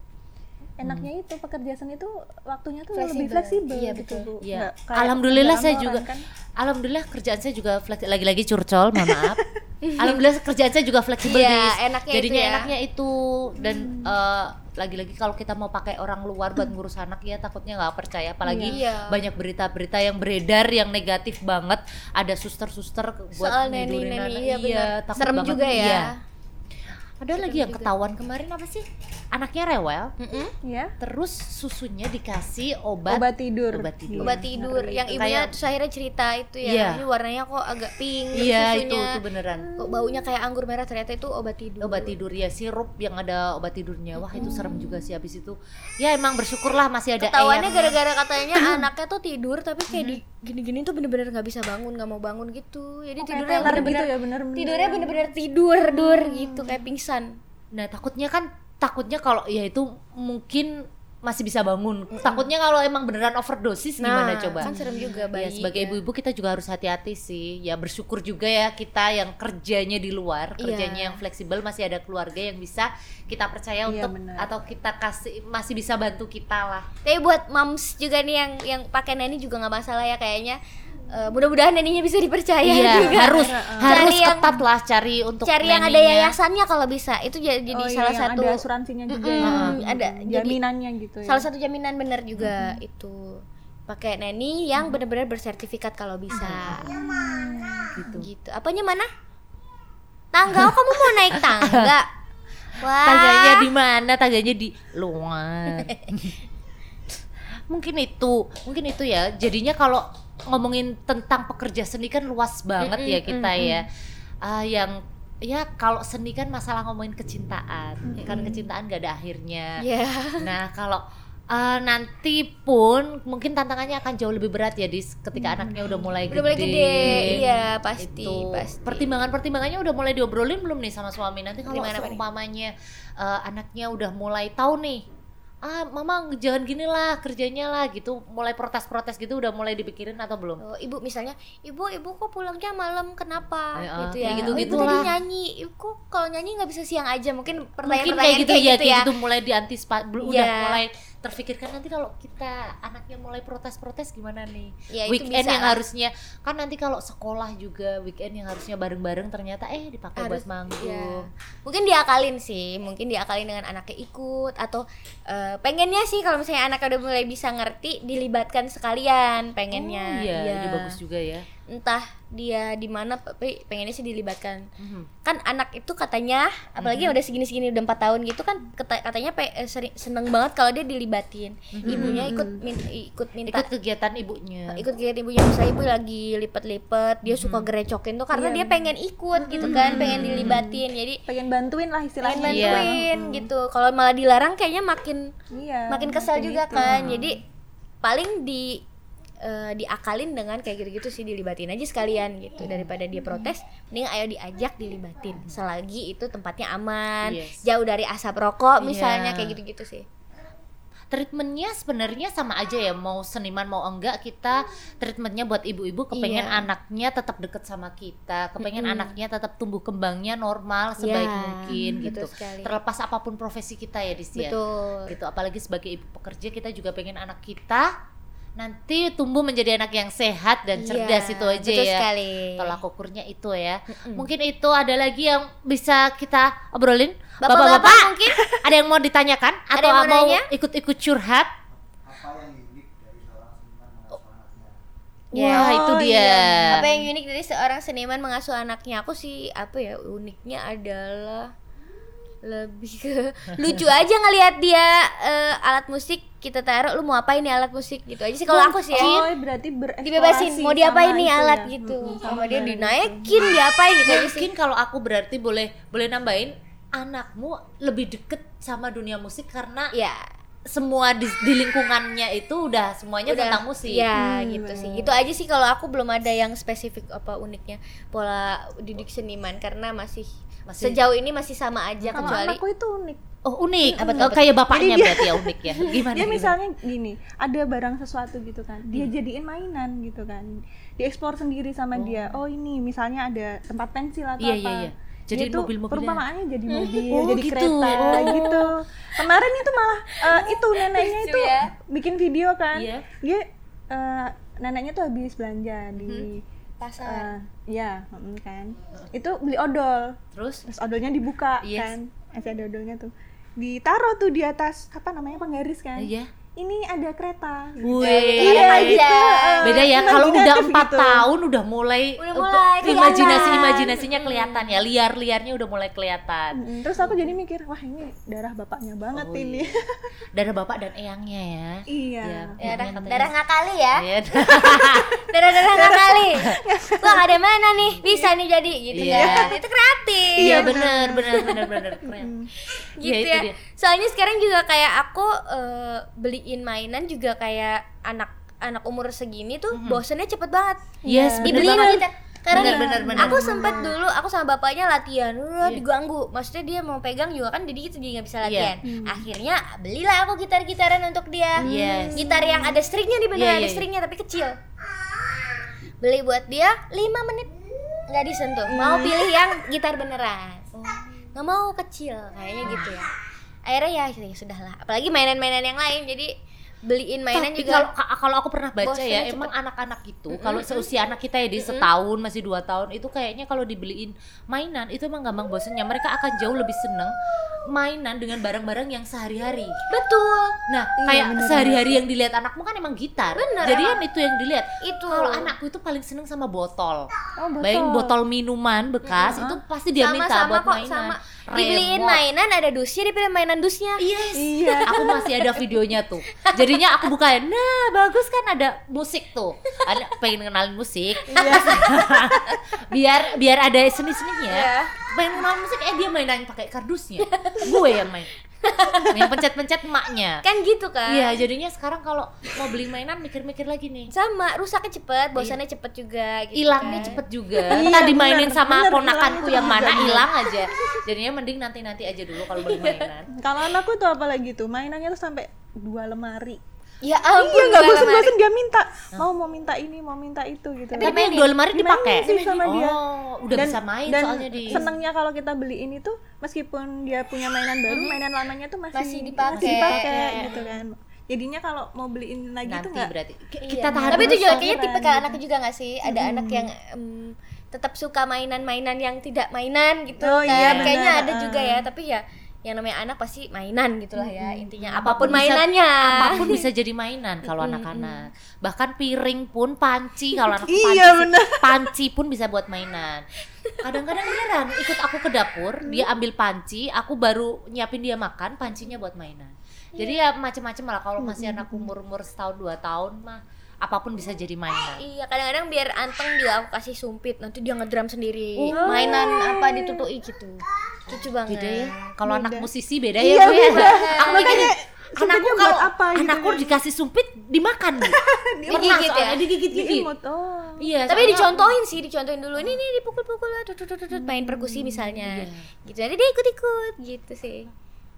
Enaknya itu pekerja seni itu waktunya tuh
Hmm. Fleksibel.
lebih fleksibel
Iya,
gitu,
betul.
Bu.
Iya.
Nggak kayak
Alhamdulillah saya
orang
juga.
kan.
Alhamdulillah kerjaan saya juga fleksibel lagi-lagi curcol, mohon maaf. Alhamdulillah kerjaan saya juga fleksibel
Iya,
guys.
enaknya itu
Jadinya
ya.
enaknya itu dan
Hmm.
eh, lagi-lagi kalau kita mau pakai orang luar buat ngurus anak ya takutnya nggak percaya apalagi
Iya.
banyak berita-berita yang beredar yang negatif banget ada suster-suster ke- buat
Soal
ngidurin
neni-neni
anak.
iya,
iya
benar.
takut
Serem
banget.
juga ya.
Iya. Ada lagi yang
juga.
ketahuan kemarin apa sih? Anaknya rewel,
Mm-mm.
Iya.
terus susunya dikasih obat,
Obat tidur. Iya,
Obat tidur.
obat tidur Iya, yang ibunya
Kayak-
terus akhirnya cerita itu ya
Iya.
ini warnanya kok agak pink terus
Iya, itu
susunya
itu beneran.
kok baunya kayak anggur merah ternyata itu obat tidur
obat tidur ya sirup yang ada obat tidurnya wah itu serem juga sih habis itu ya emang bersyukurlah masih ada
ketahuannya
eyang.
gara-gara katanya anaknya tuh tidur tapi kayak di
Mm-hmm.
gini-gini tuh bener-bener nggak bisa bangun nggak mau bangun gitu jadi
Oh,
Kayak
tidurnya
teler
bener-bener
gitu ya, bener-bener.
tidurnya bener-bener tidur dur gitu kayak pingsan
nah takutnya kan takutnya kalau ya itu mungkin masih bisa bangun takutnya kalau emang beneran overdosis
Nah,
gimana coba
kan serem juga
ya
bayi
sebagai
ya.
ibu-ibu kita juga harus hati-hati sih ya bersyukur juga ya kita yang kerjanya di luar
Iya.
kerjanya yang fleksibel masih ada keluarga yang bisa kita
Iya,
percaya untuk
benar.
atau kita kasih masih bisa bantu kita lah
tapi buat moms juga nih yang yang pakai neni juga nggak masalah ya kayaknya Eh, mudah-mudahan neninya bisa dipercaya
Iya,
juga
harus harus
Cari yang-
ketat lah cari untuk
cari yang ada
neninya.
yayasannya kalau bisa itu jadi, jadi
Oh, iya,
salah
yang
satu
ada asuransinya juga
Mm-mm,
ya.
ada.
Hmm,
Jadi-
jaminannya gitu ya. Mm-hmm.
salah satu jaminan benar juga itu pakai neni yang benar-benar bersertifikat kalau bisa
Mm-hmm.
gitu gitu apanya mana tangga oh, kamu mau naik tangga wah
Tangganya di mana? Tangganya di luar. mungkin itu, mungkin itu ya. Jadinya kalau ngomongin tentang pekerja seni kan luas banget ya kita ya. Ah, yang ya kalau seni kan masalah ngomongin kecintaan, Ya kan kecintaan gak ada akhirnya.
ya
Nah kalau eh, nanti pun mungkin tantangannya akan jauh lebih berat ya dis ketika anaknya udah mulai
udah mulai gede iya pasti
itu
pasti
pertimbangan pertimbangannya udah mulai diobrolin belum nih sama suami nanti kalau
Pertimbangan apa nih?
umpamanya eh, anaknya udah mulai tahu nih ah mama jangan gini lah kerjanya lah gitu mulai protes-protes gitu udah mulai dipikirin atau belum
Oh, ibu misalnya, ibu ibu kok pulangnya malam kenapa?
Ayo,
gitu
kayak
ya. oh,
gitu-
ibu
gitulah.
tadi nyanyi, ibu kok kalau nyanyi nggak bisa siang aja mungkin
mungkin
pertanyaan-pertanyaan
kayak gitu ya kayak
ya.
gitu mulai diantisipasi belum udah
Iya.
mulai terfikirkan nanti kalau kita anaknya mulai protes-protes gimana nih
Ya, itu
weekend
bisa
yang
lah.
harusnya kan nanti kalau sekolah juga weekend yang harusnya bareng-bareng ternyata eh dipakai buat
Harus-
manggung
Iya. Mungkin diakalin sih, mungkin diakalin dengan anaknya ikut atau eh, pengennya sih kalau misalnya anaknya udah mulai bisa ngerti dilibatkan sekalian pengennya.
Oh, iya, ide bagus juga ya
Entah dia di mana tapi pengennya sih dilibatkan.
Mhm.
Kan anak itu katanya
Mm-hmm.
apalagi yang udah segini-segini udah 4 tahun gitu kan kata- katanya pe- eh, seri- seneng banget kalau dia dilibatin. Ibunya ikut min- ikut minta
Mm-hmm. ikut ya. kegiatan ibunya
ikut kegiatan ibunya misalnya ibu lagi lipet-lipet dia suka
Mm-hmm.
gerecokin tuh karena
Iya,
dia pengen ikut gitu kan pengen dilibatin jadi
pengen bantuin lah istilahnya.
pengen
Iya.
bantuin gitu kalau malah dilarang kayaknya makin
Iya.
gitu. Hmm.
makin kesel juga kan jadi paling di eh, diakalin dengan kayak gitu-gitu sih dilibatin aja sekalian gitu daripada dia protes mending ayo diajak dilibatin selagi itu tempatnya aman
Yes.
jauh dari asap rokok misalnya
Iya.
kayak gitu-gitu sih
treatmentnya sebenarnya sama aja ya mau seniman mau enggak kita treatmentnya buat ibu-ibu kepengen
Iya.
anaknya tetap deket sama kita kepengen
Mm-mm.
anaknya tetap tumbuh kembangnya normal sebaik
Ya,
mungkin gitu
betul sekali.
terlepas apapun profesi kita ya Dis ya
betul
gitu apalagi sebagai ibu pekerja kita juga pengen anak kita nanti tumbuh menjadi anak yang sehat dan
Iya,
cerdas itu aja
betul
ya
sekali Hmm.
tolak ukurnya itu ya
Mm-mm.
mungkin itu ada lagi yang bisa kita obrolin
Bapak-bapak
bapak-bapak mungkin ada yang mau ditanyakan
Ada
atau
yang mau
mau
nanya?
ikut-ikut curhat
apa yang unik dari seorang seniman mengasuh anaknya?
Ya.
wah itu
Oh,
dia
Oh. apa yang unik dari seorang seniman mengasuh anaknya aku sih apa ya uniknya adalah lebih ke lucu aja ngelihat dia eh, alat musik kita taruh lu mau apain nih alat musik gitu aja sih kalau aku sih ya
Oh, berarti bereksplorasi
dibebasin mau diapain
sama
nih
itu
alat
ya?
gitu
Mm-mm,
sama
sama
dia
bener.
dinaikin diapain gitu aja sih
mungkin kalau aku berarti boleh boleh nambahin anakmu lebih deket sama dunia musik karena
ya
semua di, di lingkungannya itu udah semuanya tentang musik
ya
Hmm,
gitu sih
bener.
gitu aja sih kalau aku belum ada yang spesifik apa uniknya pola didik seniman karena masih,
Masih-
sejauh ini masih sama aja
Kalau
kecuali
anakku itu unik.
oh unik
Apa tuh,
Oh,
apa tuh?
kayak bapaknya berarti ya unik ya gimana
Dia
gimana?
gitu.
misalnya gini, ada barang sesuatu gitu kan,
Hmm.
dia jadiin mainan gitu kan, dieksplor sendiri sama dia. Oh ini misalnya ada tempat pensil atau
Iya,
apa.
iya, iya. Jadiin
Dia tuh
mobil-mobilan.
perumpamaannya jadi
Hmm.
mobil,
Oh,
jadi
gitu.
kereta
Oh.
gitu. Kemarin itu malah eh, itu neneknya
Lucu
itu
ya.
bikin video kan,
Iya.
dia eh, neneknya tuh habis belanja di
Hmm.
Kan?
pasar
eh, ya mm, kan, itu beli odol
terus
terus odolnya dibuka
Yes.
kan masih ada odolnya tuh ditaruh tuh di atas apa namanya penggaris kan
Iya.
ini ada kereta
Wih.
Iya, iya.
eh,
beda ya kalau udah
imajinatif
empat
gitu.
tahun udah mulai
Udah
untuk
mulai kelihatan.
imajinasi imajinasinya kelihatan ya liar liarnya udah mulai kelihatan
Mm, terus aku jadi mikir wah ini darah bapaknya banget
Oh,
ini
iya. darah bapak dan eyangnya ya
iya
Ya,
darah,
katanya.
darah ngakali ya
Iya.
darah-darah ngakali wah nggak ada mana nih bisa nih jadi gitu
Iya.
kan itu kreatif
iya benar benar benar benar keren
Mm.
gitu
itu
ya,
dia.
soalnya sekarang juga kayak aku eh, beliin mainan juga kayak anak anak umur segini tuh bosennya cepet banget
yes bener
dibeliin
banget.
Iya. kita karena
Iya, Bener,
nih,
bener, bener. Iya.
aku sempat dulu aku sama bapaknya latihan udah diganggu maksudnya dia mau pegang juga kan jadi gitu jadi nggak bisa latihan
Hmm.
akhirnya belilah aku gitar gitaran untuk dia
Yes.
gitar yang ada stringnya di
Iya,
beneran ada
iya, iya.
stringnya tapi kecil beli buat dia 5 menit nggak disentuh
Hmm.
mau pilih yang gitar beneran nggak mau kecil kayaknya gitu ya akhirnya ya, ya sudahlah apalagi mainan-mainan yang lain jadi beliin mainan
Tapi
juga
kalau ka- kalau aku pernah baca
Bosennya
ya
cepet.
emang anak-anak itu kalau seusia anak kita ya di setahun masih dua tahun itu kayaknya kalau dibeliin mainan itu emang gampang bosennya mereka akan jauh lebih seneng mainan dengan barang-barang yang sehari-hari
betul
Nah,
Iya,
kayak sehari-hari yang dilihat anakmu kan emang gitar.
Bener,
Jadi
emang.
kan itu yang dilihat.
itu
Kalau anakku itu paling seneng sama botol.
oh botol
Bayangin botol minuman bekas itu pasti dia minta
sama-sama
buat
kok
mainan. Iya,
sama
Remote.
dibeliin mainan ada dusnya dibeliin mainan dusnya
Yes.
Iya.
Aku masih ada videonya tuh. Jadinya aku bukain. Nah, bagus kan ada musik tuh. Ada pengen kenalin musik.
Iya.
biar biar ada
Iya.
seni-seninya. Pengen kenalin musik eh dia mainin pakai kardusnya. Gue yang main. Yang pencet-pencet emaknya.
kan gitu kan
Iya, jadinya sekarang kalau mau beli mainan mikir-mikir lagi nih.
sama rusaknya cepet
Iya.
bosannya cepet juga gitu
Hilangnya
kan.
cepet juga.
Iya,
Tadi mainin
bener,
sama
bener,
ponakanku
hilangnya
yang
cepet
mana
juga.
hilang aja. Jadinya mending nanti-nanti aja dulu kalau beli mainan.
kalau anakku tuh apalagi tuh mainannya tuh sampai dua lemari
ya ampun
iya nggak
gua lemari.
bosen-bosen dia minta mau mau minta ini mau minta itu gitu
Tapi yang dua lemari dipakai.
sih sama dia.
Oh, udah bisa main
dan
soalnya di
senangnya kalau kita beliin itu meskipun dia punya mainan baru mainan lamanya tuh masih
Masih dipakai.
masih dipakai,
Iya.
gitu kan jadinya kalau mau beliin lagi tuh
nanti
gitu nggak
berarti. Ki-
Iya.
Kita tahan
tapi
dulu. kan.
itu juga
sakiran
kayaknya tipe kayak
gitu.
anak juga nggak sih ada anak yang em, tetap suka mainan-mainan yang tidak mainan gitu
Oh,
kan
iya, benar.
kayaknya ada
Ah.
juga ya tapi ya yang namanya anak pasti mainan gitulah ya intinya apapun,
Apapun bisa-
mainannya
Ah.
apapun bisa jadi mainan kalau anak-anak. Bahkan piring pun panci kalau anak panci.
Iya,
sih.
bener.
Panci pun bisa buat mainan. Kadang-kadang beneran ikut aku ke dapur,
Mm.
dia ambil panci, aku baru nyiapin dia makan, pancinya buat mainan. Jadi
Iya.
ya macem-macem lah kalau masih anak umur-umur setahun dua tahun mah apapun bisa jadi mainan.
Iya kadang-kadang biar anteng juga aku kasih sumpit nanti dia ngedrum sendiri
Oh.
mainan apa ditutupi gitu lucu banget
Beda ya. Kalau anak musisi beda ya,
iya
Bu, ya?
bener.
Aku
makanya
mikir,
Sumpitnya
anakku
buat
kalau
apa gitu
anakku
kan?
dikasih sumpit dimakan Bu. pernah
Digigit ya?
soalnya digigit gigit
diimut oh
iya
tapi
soalnya-
dicontohin sih dicontohin dulu ini nih dipukul-pukul aduh, duh, duh, duh, duh, main perkusi misalnya
Iya.
gitu nanti dia ikut-ikut gitu sih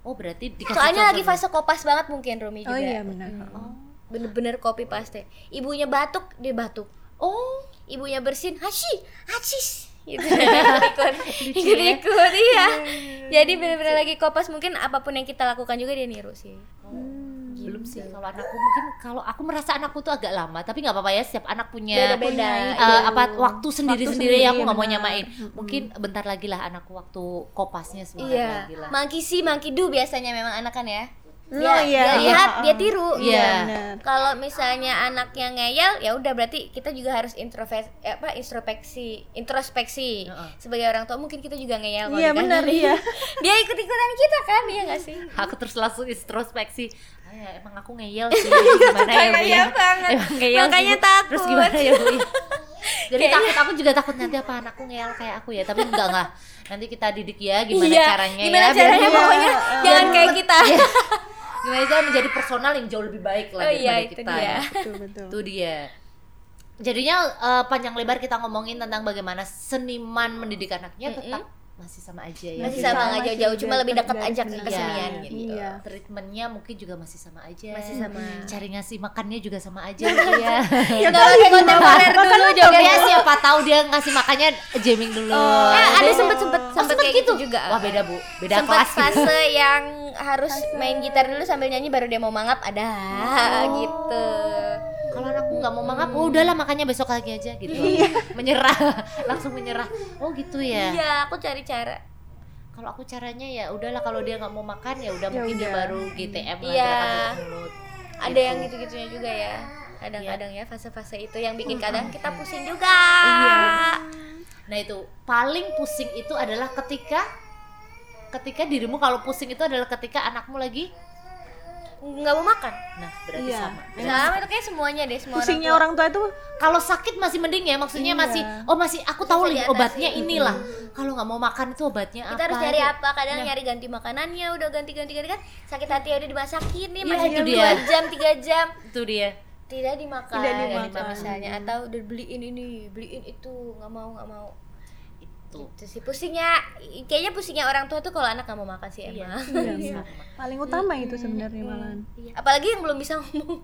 oh berarti dikasih
soalnya lagi
contoh. ya.
fase kopas banget mungkin Rumi juga
oh iya benar
Oh.
bener-bener kopi pasti ibunya batuk dia batuk
oh
ibunya bersin hashi hacis gitu ikut ikut ikut iya jadi bener-bener lagi kopas mungkin apapun yang kita lakukan juga dia niru sih Hmm,
belum sih
gitu.
kalau anakku mungkin kalau aku merasa anakku tuh agak lama tapi nggak apa-apa ya setiap anak punya
Beda-beda, iya.
eh,
itu.
apa waktu sendiri-sendiri
sendiri,
yang aku nggak mau
benar.
nyamain mungkin bentar lagi lah anakku waktu kopasnya
Hmm.
semangat
Iya,
lagi lah
monkey see, monkey do biasanya memang anak kan ya.
Oh,
Dia-
iya.
dia lihat, dia tiru. gitu.
Iya.
benar.
Kalau misalnya anaknya ngeyel, ya udah berarti kita juga harus introves eh, apa introspeksi, introspeksi.
Heeh.
Sebagai orang tua mungkin kita juga ngeyel kalau
iya
dikasih.
benar iya
Dia ikut-ikutan kita kan, iya nggak sih?
aku terus langsung introspeksi ah, ya, emang aku ngeyel sih gimana ya Bu ya?
Ngeyel banget.
emang ngeyel sih,
Makanya
Bu.
takut.
terus gimana ya bu ya? jadi takut aku juga takut nanti apa anakku ngeyel kayak aku ya tapi enggak lah nanti kita didik ya gimana
Iya,
caranya
gimana
ya biar
caranya
dia-
pokoknya
biar
jangan kayak kita.
Iya. gimana cara menjadi personal yang jauh lebih baik lah
Oh iya,
daripada
itu
kita ya.
dia.
betul betul
itu dia jadinya eh, panjang lebar kita ngomongin tentang bagaimana seniman mendidik anaknya tetap masih sama aja ya
Masih
Jadi,
sama nggak
masih
jauh-jauh, cuma
dekat
lebih dekat
dari
aja ke
seniman.
kesenian
Iya.
gitu.
Iya.
treatmentnya mungkin juga masih sama aja
Masih sama. Iya.
cari ngasih makannya juga sama aja gitu ya
Nggak pakai kontemporer dulu
ya
jogetnya.
siapa tahu dia ngasih makannya jamming dulu Iya. Oh,
Eh, ada sempet-sempet sempet kayak gitu juga.
wah beda bu beda
sempat
kelas gitu.
fase yang harus main gitar dulu sambil nyanyi baru dia mau mangap ada gitu
kalau anakku nggak mau mangap oh udahlah makannya besok lagi aja gitu menyerah langsung menyerah oh gitu ya
iya aku cari cara
kalau aku caranya ya udahlah kalau dia nggak mau makan ya udah
Ya
mungkin dia
udah.
baru GTM lah
Iya.
gerakan mulut.
ada
Gitu.
yang gitu gitunya juga ya kadang-kadang ya fase-fase itu yang bikin kadang kita pusing juga
nah itu paling pusing itu adalah ketika ketika dirimu kalau pusing itu adalah ketika anakmu lagi
nggak mau makan
nah berarti
Iya.
sama Iya,
sama itu kayak semuanya deh semua
pusingnya
orang
orang tua itu
kalau sakit masih mending ya maksudnya
Iya.
masih oh masih aku tahu nih
diatasi.
obatnya inilah kalau nggak mau makan itu obatnya
tua. kita
apa
harus cari apa kadang
Nah.
nyari ganti makanannya udah ganti-ganti ganti kan sakit hati udah dimasakin nih
Iya,
masih
itu
dua
dia.
jam tiga jam
itu dia
tidak dimakan,
Tidak
ya,
dimakan.
misalnya atau udah beliin ini beliin itu nggak mau nggak mau
itu
itu sih pusingnya kayaknya pusingnya orang tua tuh kalau anak nggak mau makan sih
Iya.
emang
Iya. paling utama itu sebenarnya malahan
apalagi yang belum bisa ngomong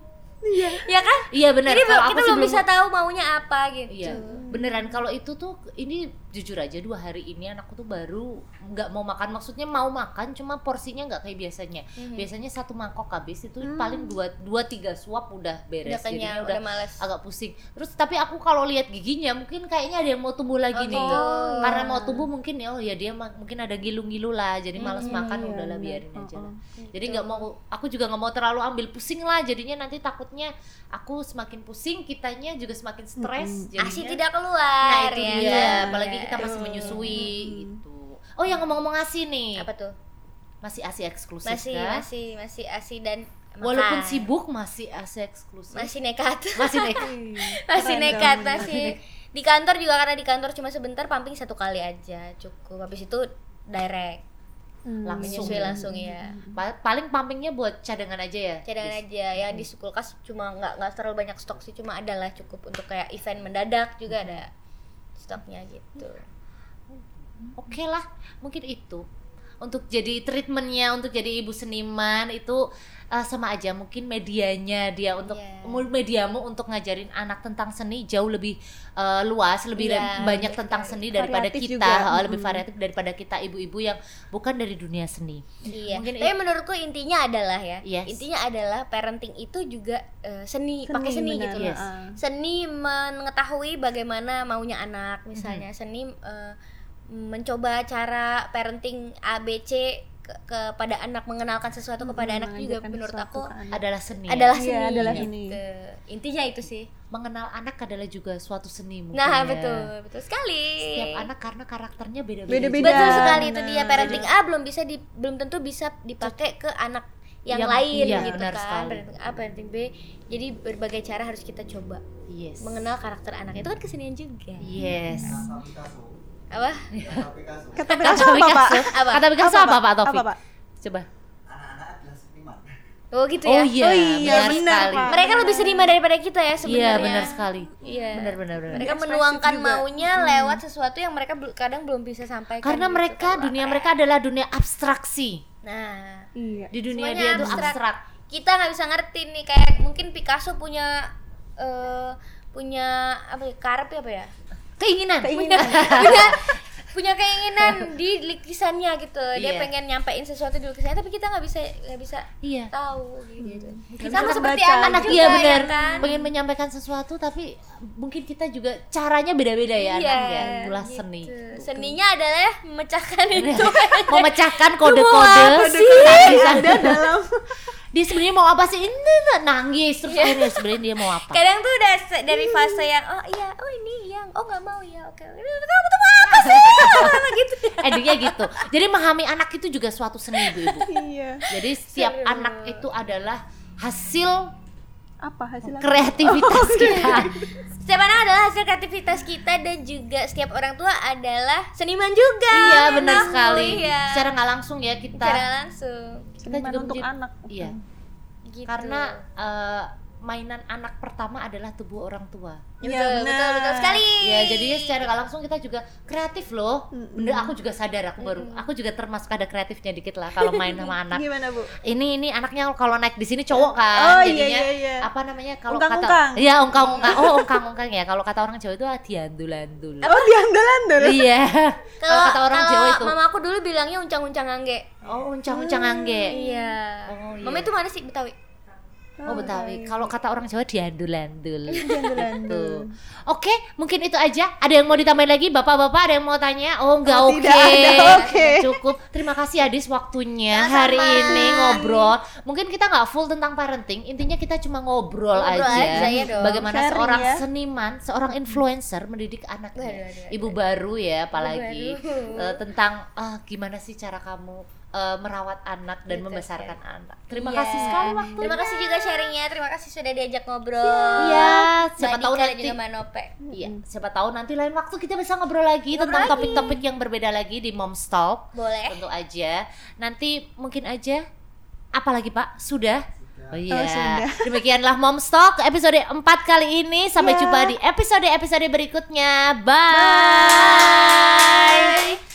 iya ya kan
iya benar
jadi
kalau aku
kita belum
sebelum-
bisa tahu maunya apa gitu
Iya, beneran kalau itu tuh ini jujur aja dua hari ini anakku tuh baru nggak mau makan, maksudnya mau makan cuma porsinya nggak kayak biasanya.
Mhm. Hmm.
Biasanya satu mangkok habis itu paling dua dua tiga suap udah beres,
udah kenyang
jadinya
udah,
udah Ah,
males
agak pusing. Terus tapi aku kalau lihat giginya mungkin kayaknya ada yang mau tumbuh lagi
Oh,
nih.
gitu.
Karena mau tumbuh mungkin ya oh ya dia ma- mungkin ada gilu-gilu lah, jadi males makan
iya,
udahlah
benar.
biarin aja Kan lah.
Oh,
Gitu.
Jadi nggak mau aku juga nggak mau terlalu ambil pusing lah, jadinya nanti takutnya aku semakin pusing, kitanya juga semakin stres. jadinya
asi tidak keluar
Nah itu
ya
dia,
kan?
apalagi kita masih menyusui gitu. Oh yang ngomong-ngomong ASI nih,
apa tuh
masih ASI eksklusif
masih
kan?
masih masih asi dan makan.
Walaupun sibuk masih ASI eksklusif.
masih nekat
Masih nek.
masih
Iya, Keren
nekat
dong.
masih di kantor juga karena di kantor cuma sebentar pumping satu kali aja cukup habis itu direct
Hmm.
langsung.
menyusui langsung ya
iya.
Pa- Paling pumpingnya buat cadangan aja ya.
cadangan aja ya di
Hmm.
kulkas cuma nggak nggak terlalu banyak stok sih cuma ada lah cukup untuk kayak event mendadak juga
Hmm.
ada stoknya gitu
Oke lah, mungkin itu untuk jadi treatmentnya untuk jadi ibu seniman itu eh, sama aja mungkin medianya dia untuk
Iya.
mu- mediamu untuk ngajarin anak tentang seni jauh lebih eh, luas
Iya,
lebih le- banyak tentang seni daripada
Variatif
kita
juga.
eh, lebih variatif daripada kita ibu-ibu yang bukan dari dunia seni
iya
Mungkin
tapi menurutku intinya adalah ya
Yes.
intinya adalah parenting itu juga eh, seni,
Seni,
pakai seni
benar,
gitu loh
Yes.
ah.
seni mengetahui bagaimana maunya anak misalnya
Hmm.
seni eh, mencoba cara parenting ABC ke- kepada anak mengenalkan sesuatu kepada anak juga
Hmm, Mengajarkan
menurut
sesuatu
aku
ke anak.
adalah seni
adalah
Iya,
seni
adalah
gitu.
seni.
intinya itu sih
mengenal anak adalah juga suatu seni mungkin
Nah,
ya.
betul, betul sekali.
setiap anak Nah, karena karakternya beda-beda
Beda-beda.
Betul
Iya,
sekali itu dia
benar.
parenting A belum bisa di, belum tentu bisa dipakai ke anak yang
Yang-
lain
iya,
gitu
benar
kan.
sekali.
Parenting A, parenting B. Jadi berbagai cara harus kita coba
yes
mengenal karakter anak. Itu kan kesenian juga.
yes
Kata Picasso.
Apa?
Kata Picasso.
kata
kata
Picasso apa pak
Picasso, kata Picasso apa, Pak Taufik?
apa pak
Coba.
Anak-anak adalah seniman.
Oh, Oh gitu ya.
Oh iya,
Oh iya,
benar
benar,
sekali.
Pak.
Mereka lebih seniman daripada kita ya
Iya,
sebenarnya.
benar sekali.
Iya.
Benar benar benar.
Mereka
Ekspresif
menuangkan
juga.
maunya lewat sesuatu yang mereka bel- kadang belum bisa sampaikan.
Karena
gitu
mereka
keluar.
dunia mereka adalah dunia abstraksi.
Nah,
Iya.
Di dunia
Semuanya
dia itu
abstrak.
abstrak.
kita nggak bisa ngerti nih kayak mungkin Picasso punya eh, punya apa ya karep ya apa ya
Keinginan.
punya punya, punya keinginan di lukisannya gitu dia
Iya.
pengen nyampein sesuatu di lukisannya tapi kita nggak bisa nggak bisa
Iya. Hmm.
tahu gitu
Nggak
sama
bisa
seperti
baca.
anak
Anak
juga
iya
ya
benar.
kan?
Pengen menyampaikan sesuatu tapi mungkin kita juga caranya beda-beda ya anak ya. Itulah
Iya, gitu.
seni. Iya.
seninya adalah memecahkan itu
Memecahkan
Semua
kode-kode.
sih.
Tapi kan
Ada dalam
Dia sebenarnya mau apa sih? Ini
Iya.
nangis terus akhirnya sebenarnya dia mau apa?
kadang tuh udah se- dari fase yang oh iya oh ini yang oh nggak mau ya oke kamu tuh mau apa sih Apa gitu
Endingnya gitu. Jadi memahami anak itu juga suatu seni ibu-ibu.
iya.
Jadi setiap
Seru.
anak itu adalah hasil
Apa hasilnya?
kreativitas kita.
setiap anak adalah hasil kreativitas kita dan juga setiap orang tua adalah seniman juga
iya benar
memang,
sekali.
iya.
Secara nggak langsung ya kita.
secara langsung
kita
Seniman
juga
untuk
menjadi-
anak. Hmm.
Iya.
gitu.
Karena eh, mainan anak pertama adalah tubuh orang tua.
betul,
Iya,
betul, betul,
benar.
sekali
Ya, jadinya secara nggak langsung kita juga kreatif loh.
Mm-mm.
Bener, aku juga sadar aku baru. Aku juga termasuk ada kreatifnya dikit lah kalau main sama anak.
Gimana, Bu?
ini ini anaknya kalau naik di sini cowok kan
Iya. Oh, iya,
jadinya
iya, iya.
apa namanya kalau
Ungkang-ungkang.
kata ya ungkang ungkang oh ungkang ungkang ya kalau kata orang jawa itu ah, diandul-andul
Oh, diandel-andel.
iya kalau kata orang
kalau
jawa itu
mama aku dulu bilangnya uncang-uncang angge
oh uncang uncang angge
iya
Oh, iya.
mama itu mana sih betawi
oh betawi kalau kata orang jawa diandul-andul
Diandel-andel.
Tuh. Oke, mungkin itu aja. Ada yang mau ditambahin lagi? Bapak-bapak ada yang mau tanya? Oh, enggak
Oh,
oke.
tidak ada, oke.
Cukup. Terima kasih Adis waktunya
Sama-sama.
hari ini ngobrol. Mungkin kita nggak full tentang parenting. Intinya kita cuma ngobrol,
Ngobrol aja,
aja.
iya dong.
Bagaimana
Sharing
seorang
ya.
seniman, seorang influencer mendidik anaknya.
Waduh, waduh,
Ibu baru ya apalagi
baru.
Eh, tentang ah, gimana sih cara kamu eh, merawat anak
Gitu,
dan membesarkan anak. Terima
Iya.
kasih sekali waktunya.
terima kasih juga sharingnya terima kasih sudah diajak ngobrol
Iya, siapa
Mbak
tahu
Dika dan
nanti
juga gitu, Mbak Nope.
Iya, siapa tahu nanti lain waktu kita bisa ngobrol
Ngobrol
lagi tentang
lagi. Eh.
topik-topik yang berbeda lagi di Mom's Talk.
boleh
Tentu aja. Nanti mungkin aja apalagi Pak? Sudah? Oh iya.
Oh, sudah.
Demikianlah Mom's Talk episode 4 kali ini. Sampai
Ya.
jumpa di episode-episode berikutnya. Bye.